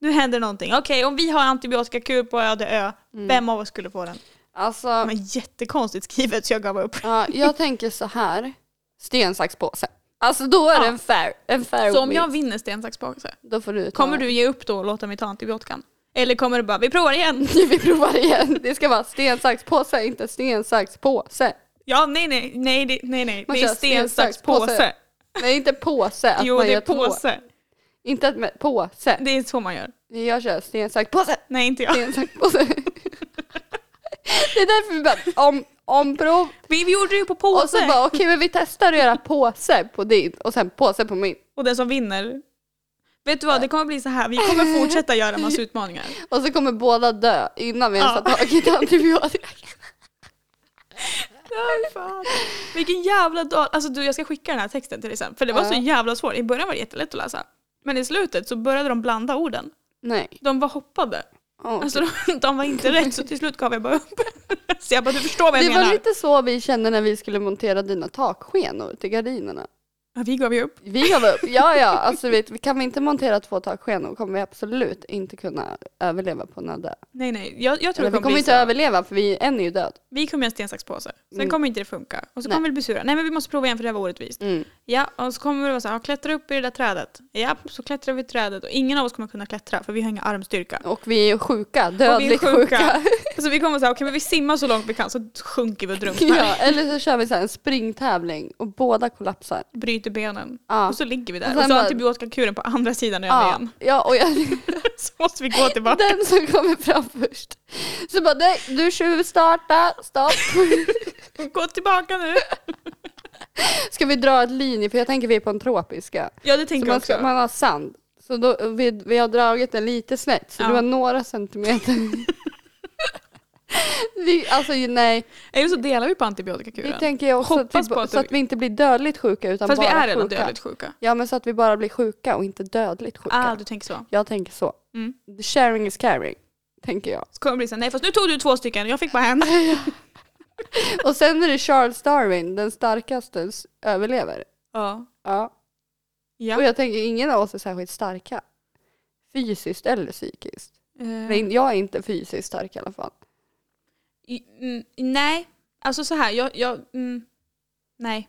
B: Nu händer någonting. Okej, om vi har antibiotikakur på öde ö, vem av oss skulle få den?
A: Alltså,
B: Men jättekonstigt skrivet så jag gav upp.
A: Ja, jag tänker så här. Sten, sax, påse. Alltså då är det
B: Ja.
A: en fair, en fair
B: Så om
A: win.
B: jag vinner sten, sax, påse,
A: Då får du ta
B: kommer du ge upp då och låta mig ta antibiotikan? Eller kommer du bara, vi provar igen?
A: Vi provar igen. Det ska vara sten, sax, påse, inte sten, sax, påse.
B: Ja, nej, nej, nej, det- nej, nej.
A: Man
B: det är
A: kör sten,
B: sten, sax,
A: sax, påse.
B: påse.
A: Nej, inte påse. Att
B: Jo,
A: man
B: det är
A: gör två.
B: påse.
A: Inte att man, påse.
B: Det är så man gör.
A: Jag kör sten, sax, påse.
B: Nej, inte jag.
A: Sten, sax, påse. Det är därför vi bara, om, omprov.
B: Vi gjorde det ju på
A: Och så
B: påse.
A: bara okej men vi testar att göra påse på din och sen påse på min.
B: Och den som vinner. Vet du vad, det kommer bli så här. Vi kommer fortsätta göra massa utmaningar.
A: Och så kommer båda dö innan vi ens
B: Ja.
A: har tagit antibiotika.
B: Vilken jävla dag. Alltså du, jag ska skicka den här texten till dig sen. För det var så
A: Ja.
B: jävla svårt. I början var det jättelätt att läsa. Men i slutet så började de blanda orden.
A: Nej.
B: De var hoppade.
A: Åh.
B: Alltså de, de var inte rätt så till slut gav jag bara upp. Så jag bara, du förstår vad jag
A: det
B: menar.
A: var lite så vi kände när vi skulle montera dina takskenor till gardinerna.
B: Ja, vi gav ju upp.
A: Vi gav upp. Ja, ja. Alltså, vet, vi- kan vi inte montera två takskenor kommer vi absolut inte kunna överleva på den här dö.
B: Nej nej, jag, jag tror
A: Eller,
B: det
A: vi
B: kommer
A: kommer
B: bli
A: inte
B: så.
A: överleva för vi, en är ju död.
B: Vi kommer göra sten, sax, påse. Sen
A: Mm.
B: kommer inte det funka. Och så
A: Nej.
B: kommer vi bli sura. Nej men vi måste prova igen för det här var orättvist.
A: Mm.
B: Ja, och så kommer vi vara så här, ja, klättra upp i det där trädet. Ja, så klättrar vi i trädet och ingen av oss kommer kunna klättra för vi har ingen armstyrka.
A: Och vi är sjuka,
B: Och vi är
A: dödligt sjuka.
B: sjuka. Så vi kommer så här, okej men vi simmar så långt vi kan så sjunker vi och drunknar.
A: Ja, eller så kör vi så här en springtävling och båda kollapsar.
B: Bryter benen.
A: Ja.
B: Och så ligger vi
A: Och
B: där.
A: sen
B: Och så har
A: bara-
B: antibiotikakuren på andra sidan ön
A: Ja,
B: igen.
A: ja, och jag,
B: Så måste vi gå tillbaka.
A: den som kommer fram först. Så bara, nej, du tjuvstarta, stopp.
B: Gå tillbaka nu.
A: Ska vi dra ett linje, för jag tänker vi är på en tropisk ö.
B: Ja det
A: Så
B: tänker jag
A: man,
B: också.
A: ska, man har sand. Så då, vi, vi har dragit den lite snett, så
B: Ja.
A: det var några centimeter. vi, alltså ju- nej,
B: Eller så delar vi på
A: det
B: antibiotikakuren.
A: tänker jag också. Att vi,
B: Hoppas på
A: ba-
B: att
A: så
B: du-
A: att vi inte blir dödligt sjuka utan
B: Fast vi
A: bara
B: är redan
A: sjuka.
B: dödligt sjuka.
A: Ja men så att vi bara blir sjuka och inte dödligt sjuka.
B: Ah, du tänker så.
A: Jag tänker så.
B: Mm.
A: Sharing is caring, tänker jag.
B: Så kommer det bli så här, nej fast nu tog du två stycken, jag fick bara en.
A: Och sen är det Charles Darwin, den starkaste, s- överlever.
B: Ja.
A: Ja. Och
B: ja.
A: jag tänker ingen av oss är särskilt starka. Fysiskt eller psykiskt.
B: Eh,
A: Men jag är inte fysiskt stark i alla fall.
B: i- mm, nej, alltså så här, jag, jag mm, nej.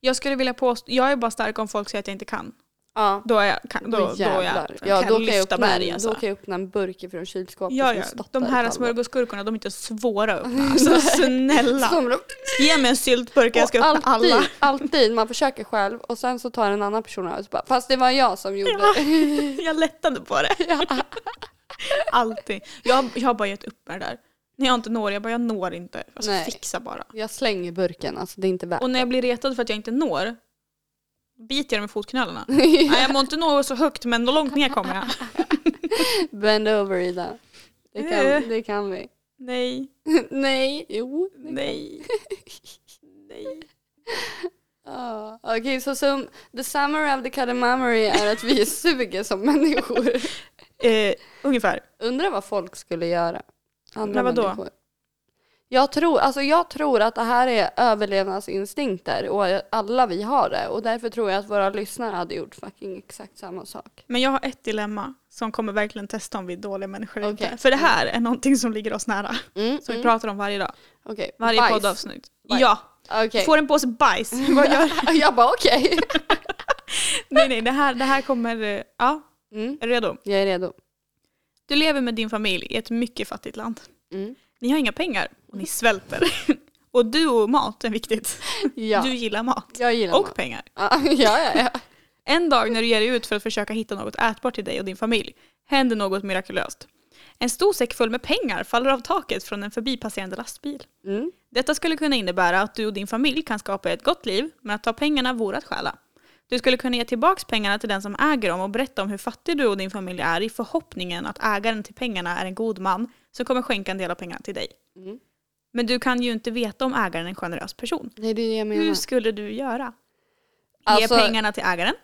B: Jag skulle vilja påstå, jag är bara stark om folk säger att jag inte kan.
A: Ja.
B: Då är jag, kan, då, då är jag,
A: jävlar.
B: kan
A: ja, då
B: jag
A: kan jag
B: lyfta
A: öppna,
B: berg
A: en, då
B: alltså.
A: kan jag öppna en burk ifrån kylskåpet
B: Ja,
A: som
B: ja.
A: stått
B: De
A: där ett
B: här
A: halvår.
B: smörgåsgurkorna, de är inte svåra att öppna. Alltså snälla.
A: Som de-
B: Ge mig en syltburk, jag ska öppna
A: Och alltid,
B: alla.
A: alltid, man försöker själv och sen så tar en annan person över. och så bara, Fast det var jag som gjorde
B: Ja.
A: det.
B: Jag lättade på det. Alltid. Jag, jag har bara gett upp med det där. När jag inte når, jag bara jag når inte. Alltså
A: Nej.
B: fixa bara.
A: Jag slänger burken, alltså det är inte värt
B: Och när jag blir retad för att jag inte når, biter jag med fotknölarna. Nej, jag må inte nå så högt men då långt ner kommer jag.
A: Bend over Ida. Det
B: Eh.
A: kan, det kan vi.
B: Nej,
A: Nej. Jo. det kan
B: nej, nej.
A: Ja, Ah, Okej, så som the summary of the cardamomary är att vi suger som människor.
B: Eh, ungefär.
A: Undrar vad folk skulle göra. Andra
B: Men vadå?
A: människor. Jag tror, alltså jag tror att det här är överlevnadsinstinkter och alla vi har det. Och därför tror jag att våra lyssnare hade gjort fucking exakt samma sak.
B: Men jag har ett dilemma som kommer verkligen testa om vi är dåliga människor eller
A: Okej.
B: inte. För det här är någonting som ligger oss nära.
A: Mm,
B: Som vi
A: mm.
B: pratar om varje dag.
A: Okej,
B: Varje
A: bajs.
B: poddavsnitt.
A: Bajs.
B: Ja,
A: Okej.
B: får en påse bajs. Vad gör
A: jag bara okej.
B: Nej, nej, det här, det här kommer... eh, Ja,
A: Mm,
B: är du redo?
A: jag är redo.
B: Du lever med din familj i ett mycket fattigt land.
A: Mm.
B: Ni har inga pengar och ni svälter. Och du och mat är viktigt.
A: Ja,
B: Du gillar mat.
A: jag gillar
B: Och
A: mat.
B: pengar.
A: Ja, ja, ja.
B: En dag när du ger dig ut för att försöka hitta något ätbart till dig och din familj händer något mirakulöst. En stor säck full med pengar faller av taket från en förbipasserande lastbil.
A: ja. Mm.
B: Detta skulle kunna innebära att du och din familj kan skapa ett gott liv, men att ta pengarna vore att stjäla. Du skulle kunna ge tillbaka pengarna till den som äger dem och berätta om hur fattig du och din familj är i förhoppningen att ägaren till pengarna är en god man som kommer skänka en del av pengarna till dig.
A: Mm.
B: Men du kan ju inte veta om ägaren är en generös person.
A: Nej, det är det jag menar.
B: Hur skulle du göra?
A: Mm. Alltså-
B: Ge pengarna till ägaren.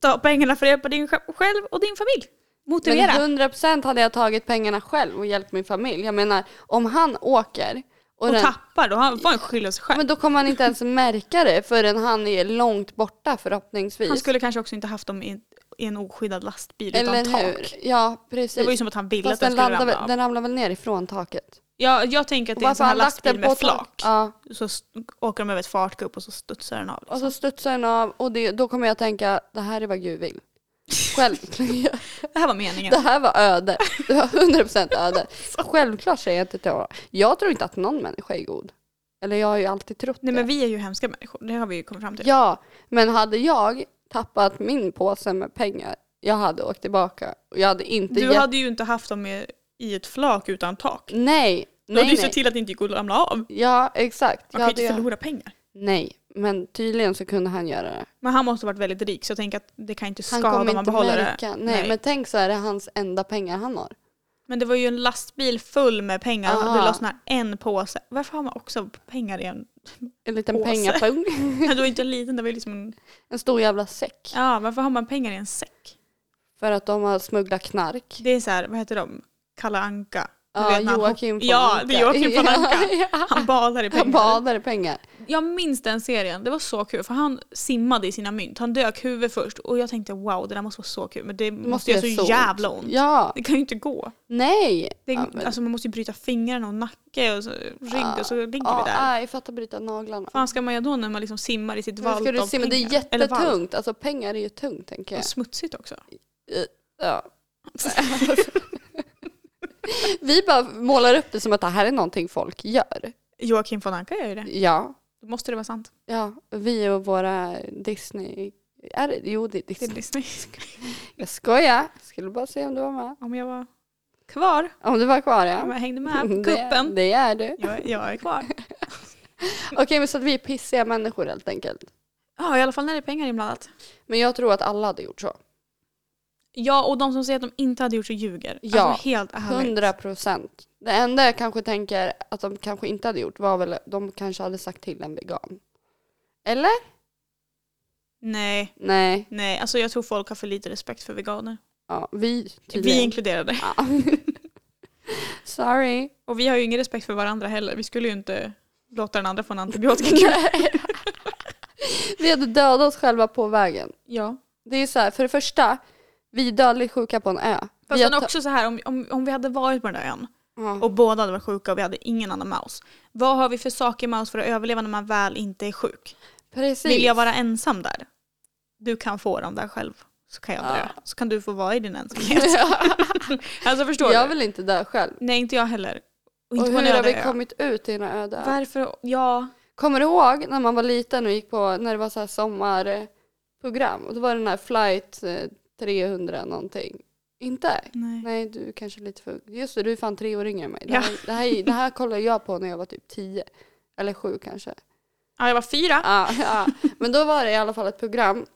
B: Ta pengarna för att hjälpa din sj- själv och din familj. Motivera.
A: Men 100% hade jag tagit pengarna själv och hjälpt min familj. Jag menar, om han åker och,
B: och
A: den,
B: tappar, då har han får han skylla sig själv.
A: men då kommer han inte ens märka det förrän han är långt borta förhoppningsvis.
B: Han skulle kanske också inte haft dem i, i en oskyddad lastbil
A: Eller
B: utan tak.
A: hur? Ja, precis.
B: Det var ju som att han ville
A: Fast
B: att den
A: den,
B: skulle
A: landar,
B: ramla
A: väl-
B: av.
A: den ramlar väl ner ifrån taket?
B: Ja, jag tänker att
A: Och
B: det är en
A: varför
B: sån här
A: han lagt
B: lastbil
A: den på
B: med
A: tak-
B: flak.
A: Ja. Alltså,
B: Så s- åker de över ett fartgupp och så studsar den av.
A: Och så studsar den av och det, då kommer jag tänka, det här är vad Gud vill. Självklart.
B: Det här var meningen.
A: Det här var öde. Det var 100% öde. Självklart säger jag inte till honom. Jag tror inte att någon människa är god. Eller jag har ju alltid trott
B: Nej
A: det.
B: men vi är ju hemska människor, det har vi ju kommit fram till.
A: Ja, men hade jag tappat min påse med pengar, jag hade åkt tillbaka. Och jag hade inte
B: du
A: gett...
B: hade ju inte haft dem i, i ett flak utan tak.
A: Nej,
B: Du hade
A: Nej,
B: ju sett
A: nej.
B: till att det inte gick att ramla av. Man
A: Ja, exakt. Jag
B: kan ju
A: hade
B: inte
A: ju...
B: förlora pengar.
A: Nej, men tydligen så kunde han göra det.
B: Men han måste ha varit väldigt rik så jag tänker att det kan inte
A: Han
B: skada om
A: kommer
B: man
A: inte
B: behåller det.
A: märka. Nej,
B: Nej.
A: men tänk så är det hans enda pengar han har.
B: Men det var ju en lastbil full med pengar och
A: Aha.
B: det lossnade en påse. Varför har man också pengar i en?
A: En liten
B: Påse.
A: pengapung.
B: Det var ju inte en liten, det var ju liksom en...
A: En stor jävla säck.
B: Ja, varför har man pengar i en säck?
A: För att de har smugglat knark.
B: Det är så här, vad heter de? Kalle Anka. Du
A: Ja,
B: vet när han
A: Ah, Joakim
B: hopp-
A: von
B: Ja,
A: Anka.
B: det är Joakim von Anka.
A: Ja.
B: Han badar i
A: Han
B: pengar.
A: badar i pengar.
B: Jag minns den serien, det var så kul för han simmade i sina mynt. Han dök huvud först och jag tänkte wow det där måste vara så kul men det måste, göra så, jävla ont.
A: Ja,
B: Det kan ju inte gå.
A: nej.
B: Det,
A: Ja, men-
B: Alltså man måste ju bryta fingrarna och nacke och så, rygg och så ligger
A: Ja,
B: vi där.
A: nej, fattar bryta naglarna.
B: Fan ska man göra då när man liksom simmar i sitt
A: Hur
B: valp
A: ska du
B: av
A: se? Men det är
B: pengar? Eller valp.
A: jättetungt. Alltså pengar är ju tungt tänker jag.
B: Och smutsigt också.
A: Ja. Vi bara målar upp det som att det här är någonting folk gör.
B: Joakim von Anka gör ju det.
A: Ja.
B: Då måste det vara sant.
A: Ja, vi och våra Disney... Är det? Jo, det är
B: Det är
A: Disney.
B: Disney.
A: Jag skojar. Skulle bara se om du var med.
B: Om jag var kvar,
A: Om du var kvar
B: om
A: ja.
B: jag hängde med på
A: Det,
B: kuppen.
A: det är du.
B: Jag, jag är kvar.
A: Okej, men så att vi är pissiga människor helt enkelt.
B: Ja i alla fall när det är pengar inblandat.
A: Men jag tror att alla hade gjort så.
B: Ja, och de som säger att de inte hade gjort så ljuger.
A: Ja,
B: alltså helt ärligt.
A: 100 procent. Det enda jag kanske tänker att de kanske inte hade gjort var väl de kanske hade sagt till en vegan. Eller?
B: Nej,
A: Nej.
B: nej. Alltså jag tror folk har för lite respekt för veganer.
A: Ja, vi
B: Vi är
A: tydligen.
B: inkluderade.
A: Ja. Sorry.
B: Och vi har ju ingen respekt för varandra heller. Vi skulle ju inte låta den andra få en antibiotika.
A: Vi hade dödat oss själva på vägen.
B: ja.
A: Det är så här, för det första, vi är dödligt sjuka på en ö.
B: Fast
A: vi har
B: sen också så här, om, om, om vi hade varit på den där ön
A: ja.
B: och båda hade varit sjuka och vi hade ingen annan maus. Vad har vi för saker med oss för att överleva när man väl inte är sjuk?
A: Precis.
B: Vill jag vara ensam där? Du kan få dem där själv. Så kan jag
A: Ja.
B: dö. Så kan du få vara i din ensamhet. alltså förstår
A: jag
B: du?
A: vill inte dö själv.
B: Nej, inte jag heller.
A: Och
B: Och inte på en
A: hur har
B: öde
A: vi
B: ö.
A: kommit ut i den här öde ön?
B: Varför? Ja.
A: Kommer du ihåg när man var liten och gick på, när det var så här sommarprogram och då var det den här flight eh, 300 någonting? Inte?
B: Nej.
A: Nej, du är kanske lite för Just det, du är fan tre år yngre än mig. Det
B: Ja.
A: här, det, här, är- det här kollade jag på när jag var typ tio. Eller sju kanske.
B: Ja, jag var fyra.
A: Ja, ja. Men då var det i alla fall ett program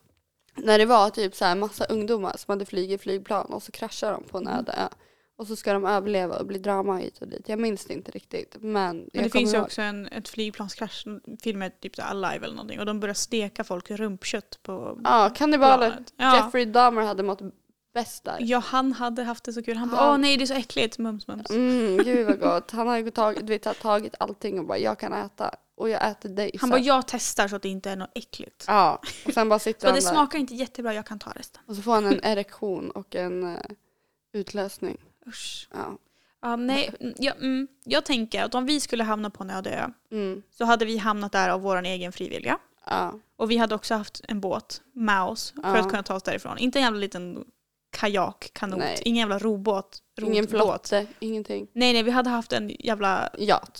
A: när det var typ så här massa ungdomar som hade flugit flygplan och så kraschar de
B: Mm.
A: på en öde ö. Och så ska de överleva och bli drama hit och dit. Jag minns det inte riktigt. Men,
B: Men
A: jag
B: det finns ju
A: kommer ihåg.
B: också en ett flygplanskrasch, en film med typ så här Alive eller någonting och de börjar steka folk i rumpkött på
A: Ja, kannibaler.
B: planet. Ja.
A: Jeffrey Dahmer hade mått bäst där.
B: ja, han hade haft det så kul. Han bara
A: Han-
B: åh nej det är så äckligt, mums mums.
A: Mm, gud vad gott. Han har ju tagit, du vet, har tagit allting och bara jag kan äta och jag äter dig
B: Han
A: sen.
B: bara jag testar så att det inte är något äckligt.
A: Ja, och sen bara sitter
B: Men
A: han
B: det
A: där.
B: smakar inte jättebra, jag kan ta resten.
A: Och så får han en erektion och en eh, utlösning.
B: Usch.
A: Ja.
B: Ja, nej, mm, ja, mm, jag tänker att om vi skulle hamna på en öde ö
A: Mm.
B: så hade vi hamnat där av vår egen frivilliga.
A: Ja.
B: Och vi hade också haft en båt med oss för
A: Ja.
B: att kunna ta oss därifrån. Inte en jävla liten kajak, kanot,
A: Nej.
B: ingen jävla robåt.
A: Ingen
B: rotbåt.
A: flotte, ingenting.
B: Nej, nej, vi hade haft en jävla
A: Yacht.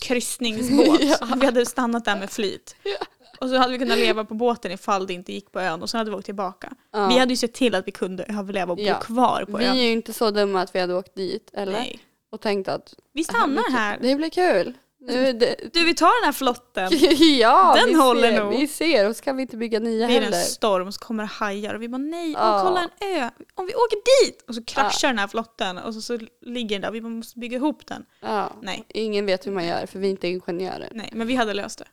B: kryssningsbåt.
A: Ja.
B: Vi hade stannat där med flit.
A: Ja.
B: Och så hade vi kunnat leva på båten ifall det inte gick på ön och sen hade vi åkt tillbaka.
A: Ja.
B: Vi hade ju sett till att vi kunde överleva och bo
A: Ja.
B: kvar på
A: Vi är
B: ön.
A: ju inte så dumma att vi hade åkt dit eller?
B: Nej.
A: och tänkt att
B: Vi
A: det
B: stannar
A: blir-
B: här.
A: det blir kul. Nu, det,
B: Du, vi tar den här flotten.
A: ja,
B: Den
A: vi
B: håller
A: ser,
B: nog.
A: Vi ser och ska vi inte bygga nya
B: Det är en
A: heller.
B: storm så kommer det hajar och vi bara nej,
A: Ja.
B: och kolla en ö, om vi åker dit! Och så kraschar den här flotten och så, så ligger den där och vi bara måste bygga ihop den.
A: Ja.
B: Nej.
A: Ingen vet hur man gör för vi är inte ingenjörer.
B: Nej, men vi hade löst det.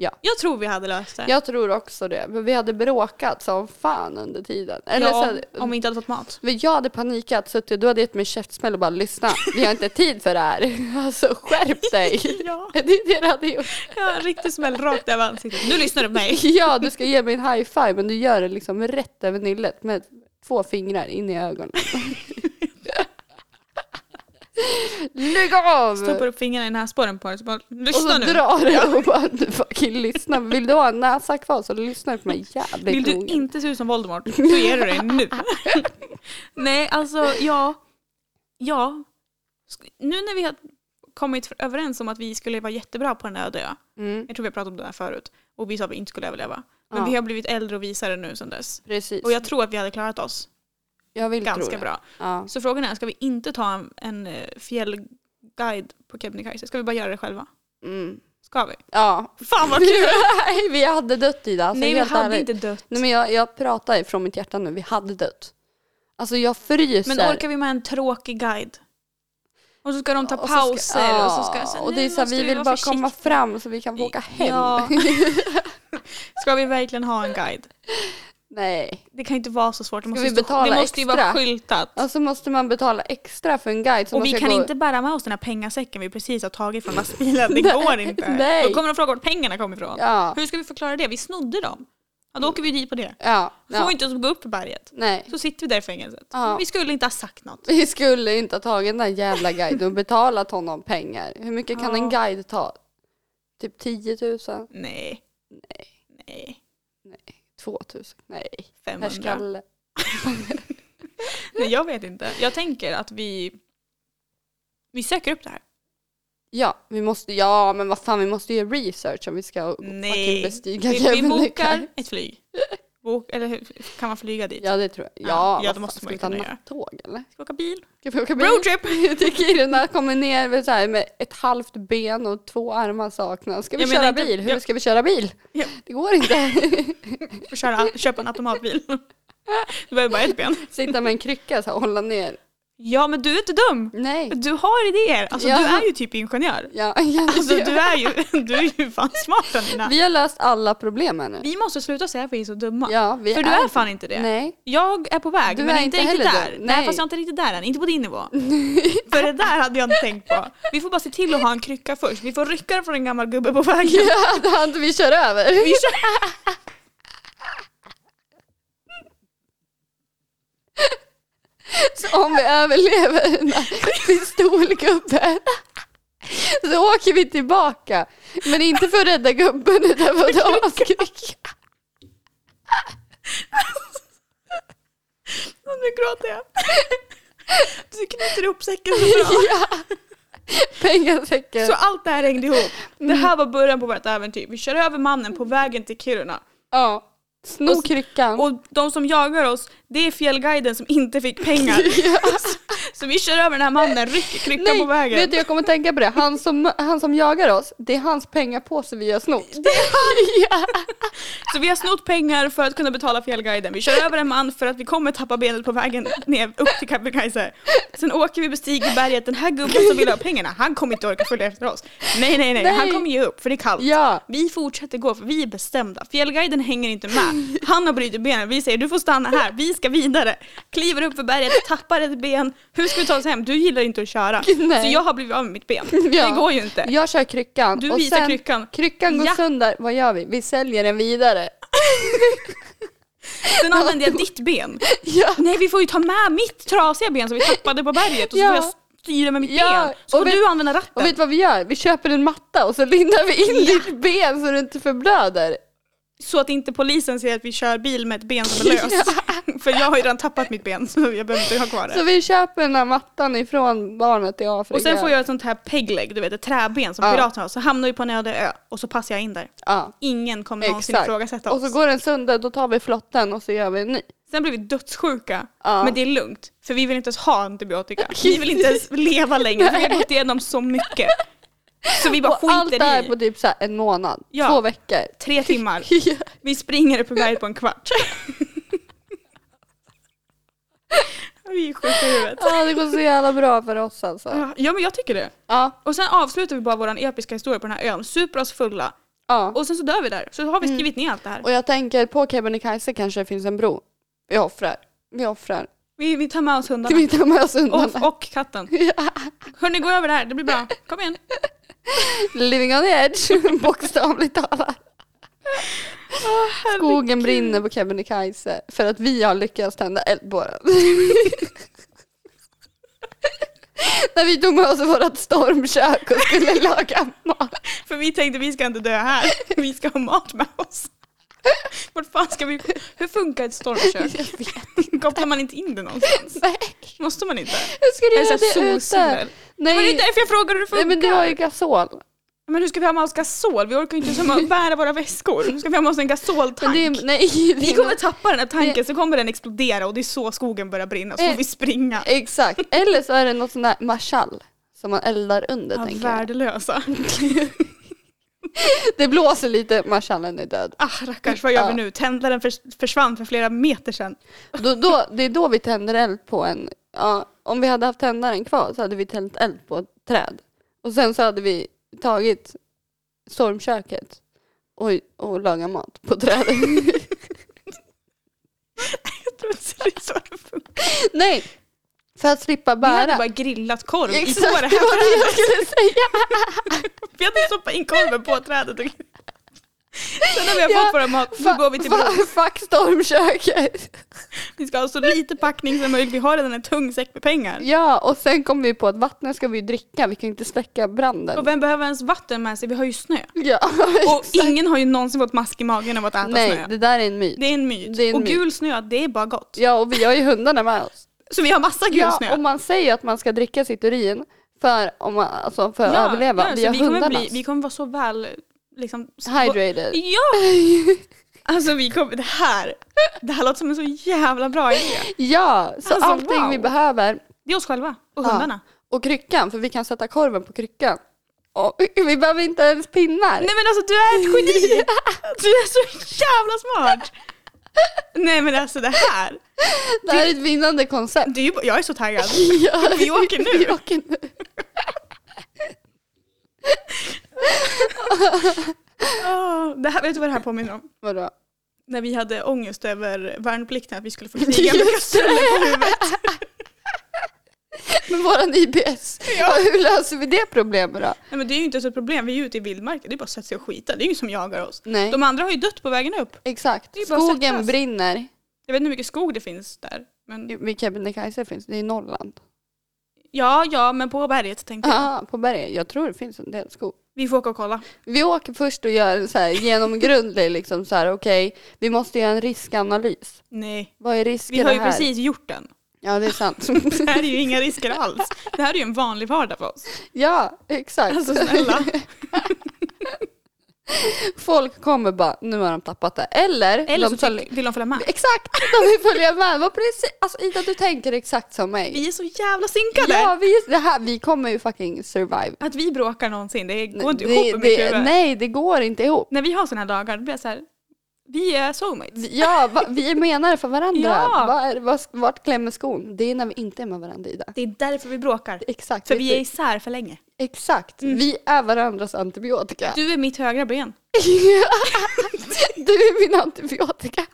A: Ja.
B: Jag tror vi hade löst det.
A: Jag tror också det. Men vi hade bråkat som fan under tiden. Eller
B: ja,
A: så hade-
B: om vi inte hade fått mat.
A: Men jag hade panikat, så du hade gett mig käftsmäll och bara lyssna, vi har inte tid för det här. Alltså skärp dig.
B: Ja,
A: Det är det du hade gjort.
B: ja en riktig smäll rakt över ansiktet. Nu lyssnar du på mig.
A: Ja, du ska ge mig en high five men du gör det liksom rätt över nyllet med två fingrar in i ögonen. Lägg av!
B: Stoppar upp fingrarna i näsborren på dig så bara
A: Och så
B: lyssna nu.
A: drar du och bara du fucking lyssna. Vill du ha en näsa kvar så lyssnar du på mig jävligt
B: Vill du
A: noga.
B: inte se ut som Voldemort, då ger du dig nu. Nej, alltså ja. Ja. Sk- Nu när vi har kommit för- överens om att vi skulle vara jättebra på den här öde ön.
A: Mm,
B: Jag tror vi har pratat om det här förut. Och vi sa att vi inte skulle överleva. Men
A: Ja.
B: vi har blivit äldre och visare nu sedan dess.
A: precis.
B: Och jag tror att vi hade klarat oss
A: jag vill tro
B: ganska
A: det.
B: bra.
A: Ja.
B: Så frågan är, ska vi inte ta en, en eh, fjällgata guide på Kebnekaise. Ska vi bara göra det själva?
A: Mm.
B: Ska vi?
A: Ja.
B: Fan vad kul!
A: Nej, vi hade dött Ida. Alltså,
B: Nej vi
A: helt
B: hade
A: ärligt.
B: inte dött.
A: Nej, men jag, jag pratar från mitt hjärta nu. Vi hade dött. Alltså jag fryser.
B: Men orkar vi med en tråkig guide? Och så ska de ta
A: Och så ska-
B: pauser och så ska
A: ja,
B: jag säga,
A: och det
B: "Nu
A: är så här,
B: måste
A: vi vill
B: vara
A: bara
B: försiktiga."
A: komma fram så vi kan få åka hem.
B: Ja. Ska vi verkligen ha en guide?
A: Nej.
B: Det kan inte vara så svårt.
A: Ska
B: Det måste,
A: vi
B: stå-
A: betala
B: det måste ju vara
A: extra?
B: skyltat.
A: Och så måste man betala extra för en guide. som
B: och vi
A: måste
B: kan
A: gå...
B: inte bära med oss den här pengasäcken vi precis har tagit från lastbilen. Det går inte.
A: nej.
B: Då kommer de fråga var pengarna kommer ifrån.
A: Ja.
B: Hur ska vi förklara det? Vi snodde dem. Ja, då åker vi dit på det.
A: Ja.
B: Då får vi
A: ja.
B: inte gå upp i berget.
A: Nej.
B: Så sitter vi där i fängelset.
A: Ja.
B: Vi skulle inte ha sagt något.
A: Vi skulle inte ha tagit den där jävla guiden och betalat honom pengar. Hur mycket kan
B: Ja.
A: en guide ta? Typ 10 000?
B: Nej. Nej. Nej.
A: 2 000? Nej.
B: 500.
A: Härskalle.
B: Nej, jag vet inte. Jag tänker att vi, vi söker upp det här.
A: Ja, vi måste, ja men vad fan vi måste ju research om vi ska fucking
B: Nej. Vi,
A: bestiga
B: vi
A: Kebnekaise.
B: bokar ett flyg. Bok, eller hur- kan man flyga dit?
A: Ja det tror jag. Ja,
B: Ja,
A: ja,
B: det måste man ju
A: Ska vi
B: kunna
A: ta
B: göra.
A: nattåg eller?
B: Ska vi åka bil?
A: Ska vi åka bil?
B: Roadtrip!
A: Till Kiruna, kommer ner med, så här, med ett halvt ben och två armar saknas. Ska vi
B: Jag menar
A: köra
B: inte-
A: bil? Hur
B: jag-
A: ska vi köra bil?
B: Ja.
A: Det går inte.
B: Får köra, köpa en automatbil. Du behöver bara ett ben.
A: Sitta med en krycka så här, och hålla ner.
B: Ja men du är inte dum.
A: Nej.
B: Du har idéer. Alltså
A: Ja.
B: du är ju typ ingenjör.
A: Ja, ja,
B: Alltså
A: ja.
B: du är ju, du är ju fan smart Anina.
A: Vi har löst alla problem här nu.
B: Vi måste sluta säga att vi är så dumma.
A: Ja, vi
B: För du är fan inte det.
A: Nej.
B: Jag är på väg
A: Du
B: men
A: är
B: inte
A: inte
B: riktigt
A: heller
B: där.
A: dum.
B: Nej
A: Nej.
B: fast jag är inte riktigt där än. Inte på din nivå. För det där hade jag inte tänkt på. Vi får bara se till att ha en krycka först. Vi får rycka den från en gammal gubbe på vägen.
A: Ja, det har inte vi kör över.
B: Vi kör.
A: Så om vi överlever den där pistolgubben så åker vi tillbaka. Men inte för att rädda gubben utan för att ha skräck.
B: Nu gråter jag. Du knyter ihop säcken så bra.
A: Ja. Pengasäcken.
B: Så allt det här hängde ihop. Det här
A: Mm.
B: var början på vårt äventyr. Vi kör över mannen på vägen till Kiruna.
A: Ja. Sno
B: Och-
A: kryckan.
B: Och de som jagar oss, det är fjällguiden som inte fick pengar. Så vi kör över den här mannen, rycker kryckan på
A: Nej,
B: vägen.
A: vet du, jag kommer att tänka på det. Han som, han som jagar oss, det är hans pengapåse vi har snott. Ja.
B: Så vi har snott pengar för att kunna betala fjällguiden. Vi kör över en man för att vi kommer tappa benet på vägen ner upp till Kebnekaise. Sen åker vi bestiger berget. Den här gubben som vill ha pengarna, han kommer inte orka följa efter oss. Nej, nej, nej,
A: Nej.
B: han kommer ge upp för det är kallt.
A: Ja.
B: Vi fortsätter gå för vi är bestämda. Fjällguiden hänger inte med. Han har brutit benen. Vi säger du får stanna här, vi ska vidare. Kliver upp för berget, tappar ett ben. Hur ska vi ta oss hem? Du gillar inte att köra.
A: Nej.
B: Så jag har blivit av med mitt ben.
A: Ja.
B: Det går ju inte.
A: Jag kör kryckan.
B: Du
A: och
B: visar
A: sen,
B: kryckan.
A: Kryckan går
B: Ja.
A: sönder. Vad gör vi? Vi säljer den vidare.
B: Sen använder jag ditt ben.
A: Ja.
B: Nej vi får ju ta med mitt trasiga ben som vi tappade på berget och så
A: Ja.
B: får jag styra med mitt
A: Ja,
B: ben. Så
A: och
B: får
A: vet-
B: du använda ratten.
A: Och vet du vad vi gör? Vi köper en matta och så lindar vi in ditt ben så du inte förblöder.
B: Så att inte polisen ser att vi kör bil med ett ben som är löst. För jag har ju redan tappat mitt ben så jag behöver inte ha kvar det.
A: Så vi köper den här mattan ifrån barnet i Afrika.
B: Och sen får jag ett sånt här pegleg, du vet ett träben som
A: Ja.
B: pirater har. Så hamnar vi på en öde ö och så passar jag in där.
A: Ja,
B: Ingen kommer någonsin
A: exakt.
B: ifrågasätta
A: Och
B: oss.
A: så går den sönder, då tar vi flotten och så gör vi en ny.
B: Sen blir vi dödssjuka.
A: Ja.
B: Men det är lugnt, för vi vill inte ens ha antibiotika. Vi vill inte ens leva längre, för vi har gått igenom så mycket. Så vi bara
A: Och allt det
B: skiter
A: här
B: i.
A: på typ så här en månad,
B: Ja.
A: två veckor.
B: Tre timmar.
A: Ja.
B: Vi springer upp i berget på en kvart. vi är sjuka i huvudet.
A: ja, det går så jävla bra för oss alltså.
B: Ja men jag tycker det.
A: Ja,
B: Och sen avslutar vi bara vår episka historia på den här ön, super oss fulla.
A: ja.
B: Och sen så dör vi där. Så har vi skrivit ner allt det här.
A: Och jag tänker på Kebnekaise kanske det finns en bro. Vi offrar. Vi offrar.
B: Vi, vi tar med oss hundarna.
A: Vi tar med oss undan.
B: Och, och katten. Hörni, gå över det här, det blir bra. Kom igen.
A: Living on the edge, bokstavligt talat. Skogen brinner på Kebnekaise för att vi har lyckats tända eld på den. När vi tog med oss vårt stormkök och skulle laga mat.
B: För vi tänkte vi ska inte dö här, vi ska ha mat med oss. Vart fan ska vi... Hur funkar ett stormkök?
A: Jag vet
B: Kopplar man inte in det någonstans?
A: Nej,
B: Måste man inte?
A: hur ska du
B: Är det
A: göra
B: såhär
A: det
B: solceller?
A: ute?
B: Men det är
A: Nej,
B: därför jag frågar hur det
A: nej
B: funkar.
A: men
B: Men,
A: du har ju gasol.
B: hur ska vi ha med oss gasol? Vi orkar ju inte som att bära våra väskor. Hur ska vi ha med oss en
A: Men
B: gasoltank?
A: det är, nej, det är
B: Vi kommer tappa den här tanken så kommer den explodera och det är så skogen börjar brinna så får
A: Eh.
B: vi springa.
A: Exakt, eller så är det något sånt där marschall Som man eldar under
B: Ja,
A: tänker jag.
B: värdelösa.
A: Det blåser lite, marschallen är död.
B: Ah, rackars, vad gör vi
A: Ja.
B: nu? Tändaren förs- försvann för flera meter sedan.
A: Då, då, det är då vi tänder eld på en, ja, om vi hade haft tändaren kvar så hade vi tänt eld på ett träd. Och sen så hade vi tagit stormköket och, och lagat mat på trädet.
B: Jag tror inte det är så det funkar.
A: Nej, för att slippa
B: Vi hade
A: bära.
B: bara grillat korv i på
A: Exakt, det
B: det
A: var
B: här
A: det jag
B: trädet.
A: skulle säga.
B: Vi hade stoppat in korven på trädet. och- Sen när vi har
A: Ja,
B: fått våra mat, då går vi till
A: Fa-
B: bordet.
A: fa- Fuck stormköket.
B: Vi ska ha så lite packning som möjligt. Vi har redan en tung säck med pengar.
A: Ja, och sen kom vi på att vattnet ska vi ju dricka, vi kan ju inte släcka branden.
B: Och vem behöver ens vatten med sig? Vi har ju snö.
A: Ja,
B: Och
A: exakt.
B: ingen har ju någonsin fått mask i magen av att äta
A: Nej,
B: snö.
A: det där är en myt.
B: Det är en myt.
A: Det är en
B: och
A: myt.
B: gul snö, det är bara gott.
A: Ja, och vi har ju hundarna med oss.
B: Så vi har massa gul
A: Ja,
B: snö.
A: och man säger att man ska dricka sitt urin för, om man, alltså för att överleva.
B: ja,
A: vi
B: så
A: har
B: vi, kommer
A: hundarna.
B: bli, vi kommer vara så väl... Liksom, så-
A: Hydrated.
B: Ja! Alltså vi kommer, det här, det här låter som en så jävla bra idé.
A: Ja, så
B: Alltså,
A: allting
B: wow.
A: vi behöver.
B: Det är oss själva och
A: Ja.
B: hundarna.
A: Och kryckan, för vi kan sätta korven på kryckan. Och vi behöver inte ens pinnar.
B: Nej men alltså du är ett geni! Du är så jävla smart! Nej men alltså det här,
A: det här är ett vinnande koncept.
B: det är ju, bara- jag är så taggad.
A: Ja,
B: Vi åker nu.
A: vi åker nu.
B: Åh, det här, vet du vad det här påminner om?
A: Vadå?
B: När vi hade ångest över värnplikten, att vi skulle få kriga med
A: Just
B: kastruller på huvudet.
A: Men våran IBS,
B: Ja.
A: hur löser vi det problemet då?
B: Nej men det är ju inte så ett problem, vi är ju ute i vildmarken, det är bara att sätta sig och skita, det är ju ingen som jagar oss.
A: Nej,
B: De andra har ju dött på vägen upp.
A: exakt.
B: Det är bara att sätta
A: Skogen
B: oss.
A: brinner.
B: Jag vet inte hur mycket skog det finns där. Men...
A: Vid Kebnekaise finns det, i Norrland.
B: Ja, ja, men på berget tänkte jag.
A: Ja, på berget. Jag tror det finns en del skog.
B: Vi får åka och kolla.
A: Vi åker först och gör en så här genomgrundlig, liksom så här, okej, vi måste göra en riskanalys.
B: Nej,
A: Vad är risken
B: vi har ju
A: här?
B: precis gjort den.
A: Ja, det är sant.
B: Det här är ju inga risker alls. Det här är ju en vanlig vardag för oss.
A: ja, exakt.
B: Alltså snälla.
A: Folk kommer bara, nu har de tappat det. Eller, de
B: Eller så
A: tar-
B: tycker- vill de följa med.
A: Exakt, de vill följa med. Vad precis, alltså Ida, du tänker exakt som mig.
B: Vi är så jävla synkade.
A: Ja, vi, det här, vi kommer ju fucking survive.
B: Att vi bråkar någonsin, det går inte
A: Det-
B: ihop med mitt
A: det-
B: huvud.
A: Nej, det går inte ihop.
B: När vi har sådana här dagar, då blir jag så här, vi är soulmates.
A: Ja, va, vi är menade för varandra.
B: Ja.
A: Vad är, vad, vart klämmer skon? Det är när vi inte är med varandra, Ida.
B: Det är därför vi bråkar.
A: Exakt.
B: För
A: vet
B: vi
A: du-
B: är isär för länge.
A: Exakt,
B: Mm.
A: vi är varandras antibiotika.
B: Du är mitt högra ben.
A: Du är min antibiotika.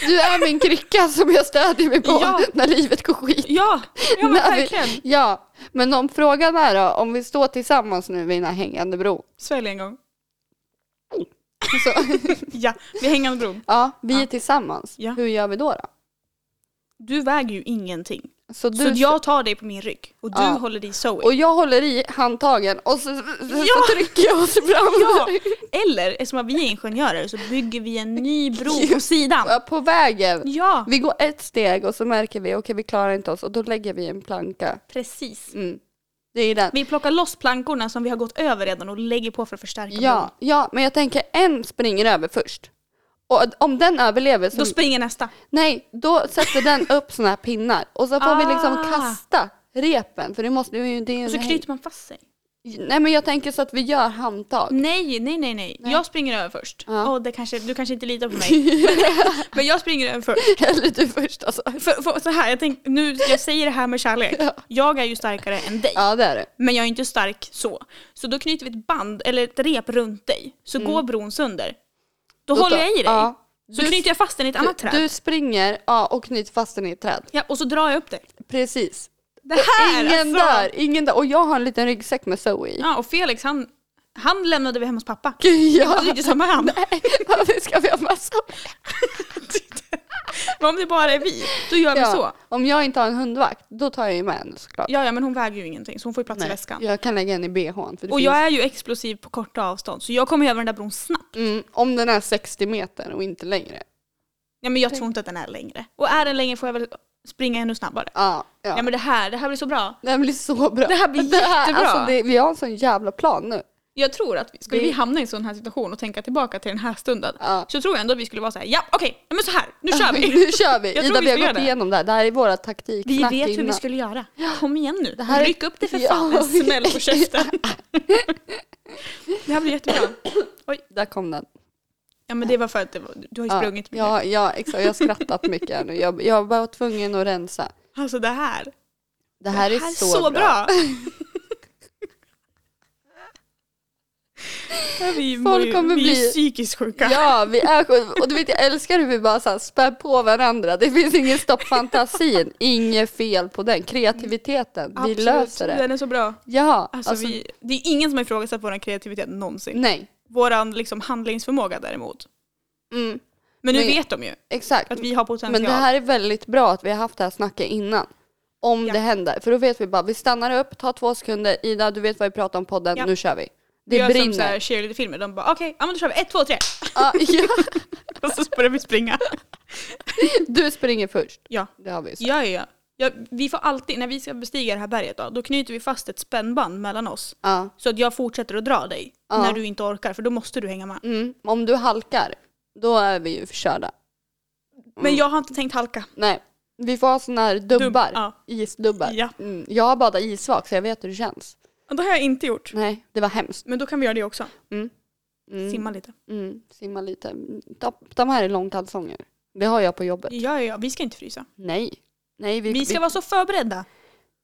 A: Du är min krycka som jag stödjer mig på
B: Ja.
A: när livet går skit.
B: Ja, ja men
A: När vi-
B: verkligen.
A: Ja, men om frågan är då, om vi står tillsammans nu vid den här hängande bron.
B: Svälj en gång.
A: Så,
B: Ja, vi hänger på bron.
A: ja, vi är
B: Ja.
A: tillsammans.
B: Ja.
A: Hur gör vi då? då?
B: Du väger ju ingenting.
A: Så du,
B: så jag tar dig på min rygg och du
A: Ja.
B: håller i Zoe.
A: och jag håller i handtagen och så, så, så
B: Ja.
A: trycker jag oss fram.
B: Ja. Eller eftersom att vi är ingenjörer så bygger vi en ny bro på sidan.
A: Ja. På vägen.
B: Ja,
A: Vi går ett steg och så märker vi, okej vi klarar inte oss och då lägger vi en planka.
B: precis.
A: Mm. Det är den.
B: Vi plockar loss plankorna som vi har gått över redan och lägger på för att förstärka bron.
A: Ja, ja, men jag tänker en springer över först. Och om den överlever så...
B: Då springer nästa.
A: nej, då sätter den upp såna här pinnar. Och så får vi liksom
B: Ah.
A: kasta repen för det måste det är ju... Det är ju
B: Och så
A: en-
B: knyter man fast sig.
A: Nej men jag tänker så att vi gör handtag.
B: Nej, nej, nej, nej. Jag springer över först.
A: Ja.
B: Åh, det kanske, du kanske inte litar på mig. men, men jag springer över först.
A: Eller du först alltså.
B: För, för, så här, jag, tänk, nu, jag säger det här med kärlek.
A: Ja.
B: Jag är ju starkare än dig.
A: Ja det är det.
B: Men jag är inte stark så. Så då knyter vi ett band eller ett rep runt dig. Så går bron sönder. Då,
A: Mm. Då
B: håller
A: tar-
B: jag i dig.
A: ja.
B: Så
A: Du-
B: knyter jag fast den i ett annat
A: Du,
B: träd.
A: du springer ja, och knyter fast den i ett träd.
B: Ja, och så drar jag upp dig.
A: Precis.
B: Det här
A: Ingen
B: alltså!
A: dör, ingen dör. Och jag har en liten ryggsäck med Zoe i.
B: Ja, och Felix han, han lämnade vi hemma hos pappa.
A: Ja.
B: Det är inte samma hand.
A: Nej, varför ska vi ha massa?
B: Men om det bara är vi, då gör vi så.
A: Om jag inte har en hundvakt, då tar jag ju med henne såklart.
B: Ja, ja, men hon väger ju ingenting så hon får ju plats i väskan.
A: Jag kan lägga den i bhn. För det
B: Och
A: finns,
B: jag är ju explosiv på korta avstånd så jag kommer ju över den där bron snabbt.
A: mm, om den är 60 meter och inte längre.
B: Ja, men jag tror inte att den är längre. Och är den längre får jag väl springa ännu snabbare.
A: Ja, ja.
B: Ja, men det här, det här blir så bra.
A: Det här blir så bra.
B: Det här blir jättebra.
A: alltså, det, vi har en sån jävla plan nu.
B: Jag tror att vi, skulle
A: Det-
B: vi hamna i en sån här situation och tänka tillbaka till den här stunden
A: Ja.
B: så tror jag ändå att vi skulle vara så här, ja okej, men så här, nu kör vi!
A: nu kör vi!
B: Jag tror
A: Ida,
B: vi
A: vi har gått
B: ska göra det.
A: igenom det här. Det här är våra taktik.
B: Vi
A: Snack
B: vet hur vi
A: innan.
B: skulle göra. Kom igen nu.
A: Det här är-
B: Ryck upp det för
A: Ja.
B: fan. En smäll på käften. det här blir jättebra.
A: Där kom den.
B: Ja men det var för att det var, du har ju sprungit mycket.
A: ja, ja, exakt. Jag har skrattat mycket här nu. Jag, jag var tvungen att rensa.
B: Alltså det här.
A: Det här, är så, bra.
B: Ja, vi
A: Folk
B: mår ju,
A: kommer
B: vi är ju
A: bli-
B: psykiskt sjuka.
A: Ja, vi är sjuka. Och du vet, jag älskar hur vi bara så här spär på varandra. Det finns ingen stopp fantasin. Inget fel på den. Kreativiteten. Vi
B: Absolut.
A: löser det.
B: Den är så bra.
A: Ja,
B: Alltså,
A: alltså,
B: vi, det är ingen som har ifrågasatt vår kreativitet någonsin.
A: nej.
B: Vår liksom, handlingsförmåga däremot.
A: Mm,
B: Men nu
A: Men-
B: vet de ju
A: exakt.
B: att vi har potential.
A: Men det här är väldigt bra att vi har haft det här snacket innan. Om
B: Ja.
A: det händer. För då vet vi bara, vi stannar upp, tar två sekunder. Ida, du vet vad vi pratar om podden.
B: Ja.
A: Nu kör vi.
B: Vi
A: Det
B: gör som så här
A: brinner.
B: cheerleader-filmer. De bara okej, ja men då kör vi ett, två, tre.
A: Ja, ja.
B: Och så börjar vi springa.
A: Du springer först.
B: Ja.
A: Det har vi ju sagt.
B: Ja, ja, ja. ja. Vi får alltid, när vi ska bestiga det här berget då, då knyter vi fast ett spännband mellan oss.
A: Ja.
B: Så att jag fortsätter att dra dig
A: Ja.
B: när du inte orkar, för då måste du hänga med.
A: Mm. Om du halkar, då är vi ju förkörda. Mm.
B: Men jag har inte tänkt halka.
A: Nej, vi får ha såna här dubbar.
B: Dubb- ja.
A: Isdubbar.
B: Ja.
A: Mm. Jag har badat isvak så jag vet hur det känns.
B: Och det har jag inte gjort.
A: Nej, det var hemskt.
B: Men då kan vi göra det också.
A: Mm.
B: Simma lite.
A: Mm. Simma lite. De, de här är långkalsonger. Det har jag på jobbet.
B: Ja, ja, ja. Vi ska inte frysa.
A: Nej. Nej, vi,
B: Vi ska vara så förberedda.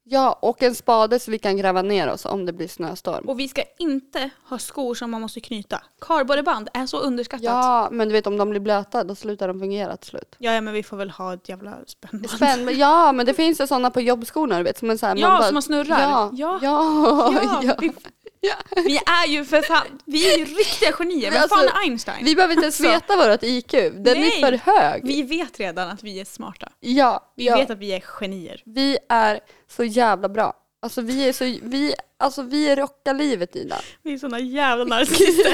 A: Ja, och en spade så vi kan gräva ner oss om det blir snöstorm.
B: Och vi ska inte ha skor som man måste knyta. Kardborreband är så underskattat. Ja.
A: Ja, men du vet om de blir blöta då slutar de fungera till slut.
B: ja, men vi får väl ha ett jävla spännband.
A: Spänn, ja, men det finns ju sådana på jobbskorna du vet. Som är så här,
B: Ja, som man snurrar.
A: Ja, ja,
B: Ja.
A: ja.
B: Ja, Vi, vi är ju för fan, vi är ju riktiga genier. Vem
A: Alltså,
B: fan är Einstein?
A: Vi behöver inte ens
B: Alltså.
A: veta vårt IQ, den är
B: Nej.
A: för hög.
B: Vi vet redan att vi är smarta.
A: ja,
B: Vi
A: ja.
B: vet att vi är genier.
A: Vi är så jävla bra. Alltså vi är så, vi, alltså vi rockar livet Ida.
B: Vi är såna jävla narcissister.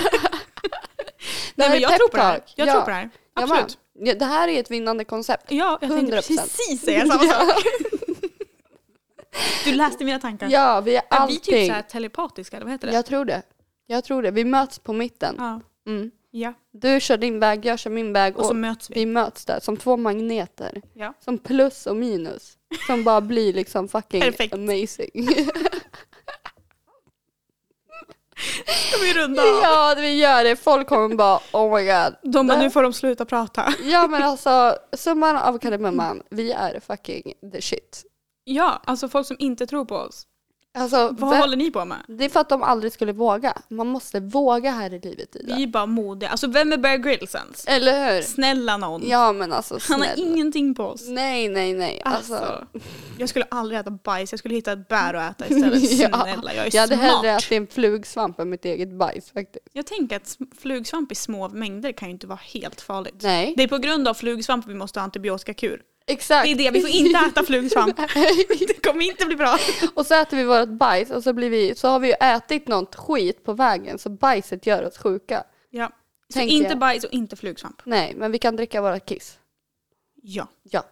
B: Nej
A: här är
B: men jag tror på det här.
A: peptalk.
B: Jag
A: Ja.
B: tror på det här.
A: Jag bara,
B: Absolut.
A: Ja, det här är ett vinnande koncept.
B: Ja, jag
A: 100%.
B: tänkte precis säga samma sak. Du läste mina tankar.
A: Ja, vi är
B: Är vi typ
A: allting.
B: såhär telepatiska eller vad heter det?
A: Jag tror det. Jag tror det. Vi möts på mitten.
B: Ja.
A: Mm.
B: ja.
A: Du kör din väg, jag kör min väg
B: Och så möts vi.
A: vi möts där som två magneter.
B: Ja.
A: Som plus och minus. Som bara blir liksom fucking
B: Perfekt.
A: amazing.
B: Ska vi runda av?
A: ja, vi gör det. Folk kommer bara oh my god.
B: De bara, nu får de sluta prata.
A: Ja men alltså, summan av kardemumman, vi är fucking the shit.
B: Ja, alltså folk som inte tror på oss.
A: Alltså,
B: Vad
A: vem-
B: håller ni på med?
A: det är för att de aldrig skulle våga. Man måste våga här i livet Ida.
B: Vi är bara modiga. Alltså vem är Bear Grylls ens?
A: Eller hur?
B: Snälla någon.
A: Ja men alltså
B: Han
A: snälla.
B: har ingenting på oss.
A: Nej nej nej. Alltså,
B: Alltså, jag skulle aldrig äta bajs, jag skulle hitta ett bär att äta istället.
A: Ja.
B: Snälla, jag är
A: jag hade
B: smart.
A: hellre ätit en flugsvamp än mitt eget bajs faktiskt.
B: Jag tänker att sm- flugsvamp i små mängder kan ju inte vara helt farligt.
A: Nej.
B: Det är på grund av flugsvamp vi måste ha antibiotikakur.
A: Exakt.
B: Det är det, vi får inte äta flugsvamp. Det kommer inte bli bra.
A: och så äter vi vårt bajs och så, blir vi, så har vi ju ätit något skit på vägen så bajset gör oss sjuka.
B: Ja. Så
A: Tänker
B: inte
A: jag.
B: bajs och inte flugsvamp.
A: Nej men vi kan dricka våra kiss.
B: Ja.
A: Ja.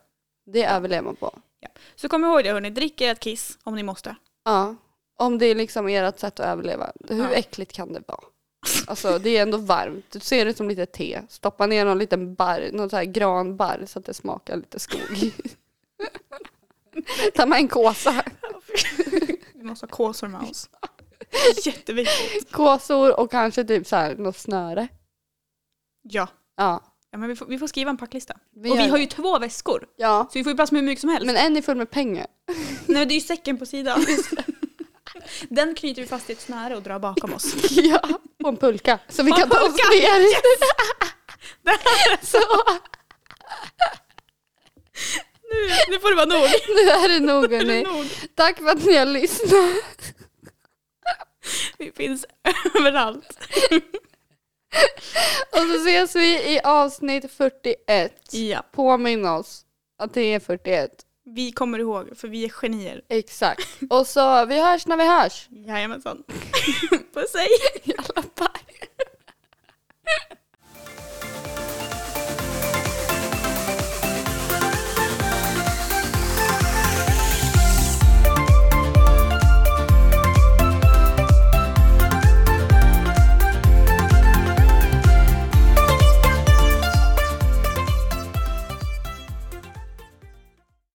A: Det överlever man på.
B: ja. Så kom ihåg det hörni, drick ert kiss om ni måste.
A: Ja, om det är liksom ert sätt att överleva. Hur
B: Ja.
A: äckligt kan det vara? Alltså det är ändå varmt. Du ser det som lite te. Stoppa ner någon liten barr, någon så här granbarr så att det smakar lite skog. Ta med en kåsa.
B: Vi måste ha kåsor med oss. Jätteviktigt.
A: Kåsor och kanske typ så här något snöre.
B: Ja.
A: Ja.
B: ja men vi, får, vi får skriva en packlista.
A: Vi
B: och
A: gör
B: vi har
A: det.
B: ju två väskor.
A: Ja.
B: Så vi får ju plats med hur mycket som helst.
A: Men en är full med pengar.
B: Nej, det är ju säcken på sidan. Den knyter vi fast i ett snöre och drar bakom oss.
A: Ja. Och en pulka. Så vi
B: Och en
A: kan ta oss
B: pulka!
A: ner.
B: Det här,
A: Så
B: nu, nu får det vara nog.
A: nu är det nog
B: Nu är det
A: hörni.
B: nog.
A: Tack för att ni har lyssnat.
B: Vi finns överallt.
A: Och så ses vi i avsnitt 41.
B: Ja,
A: påminn oss att det är 41.
B: vi kommer ihåg för vi är genier.
A: Exakt. Och så vi hörs när vi hörs.
B: Jajamensan. Puss hej!
A: Jalla, bye.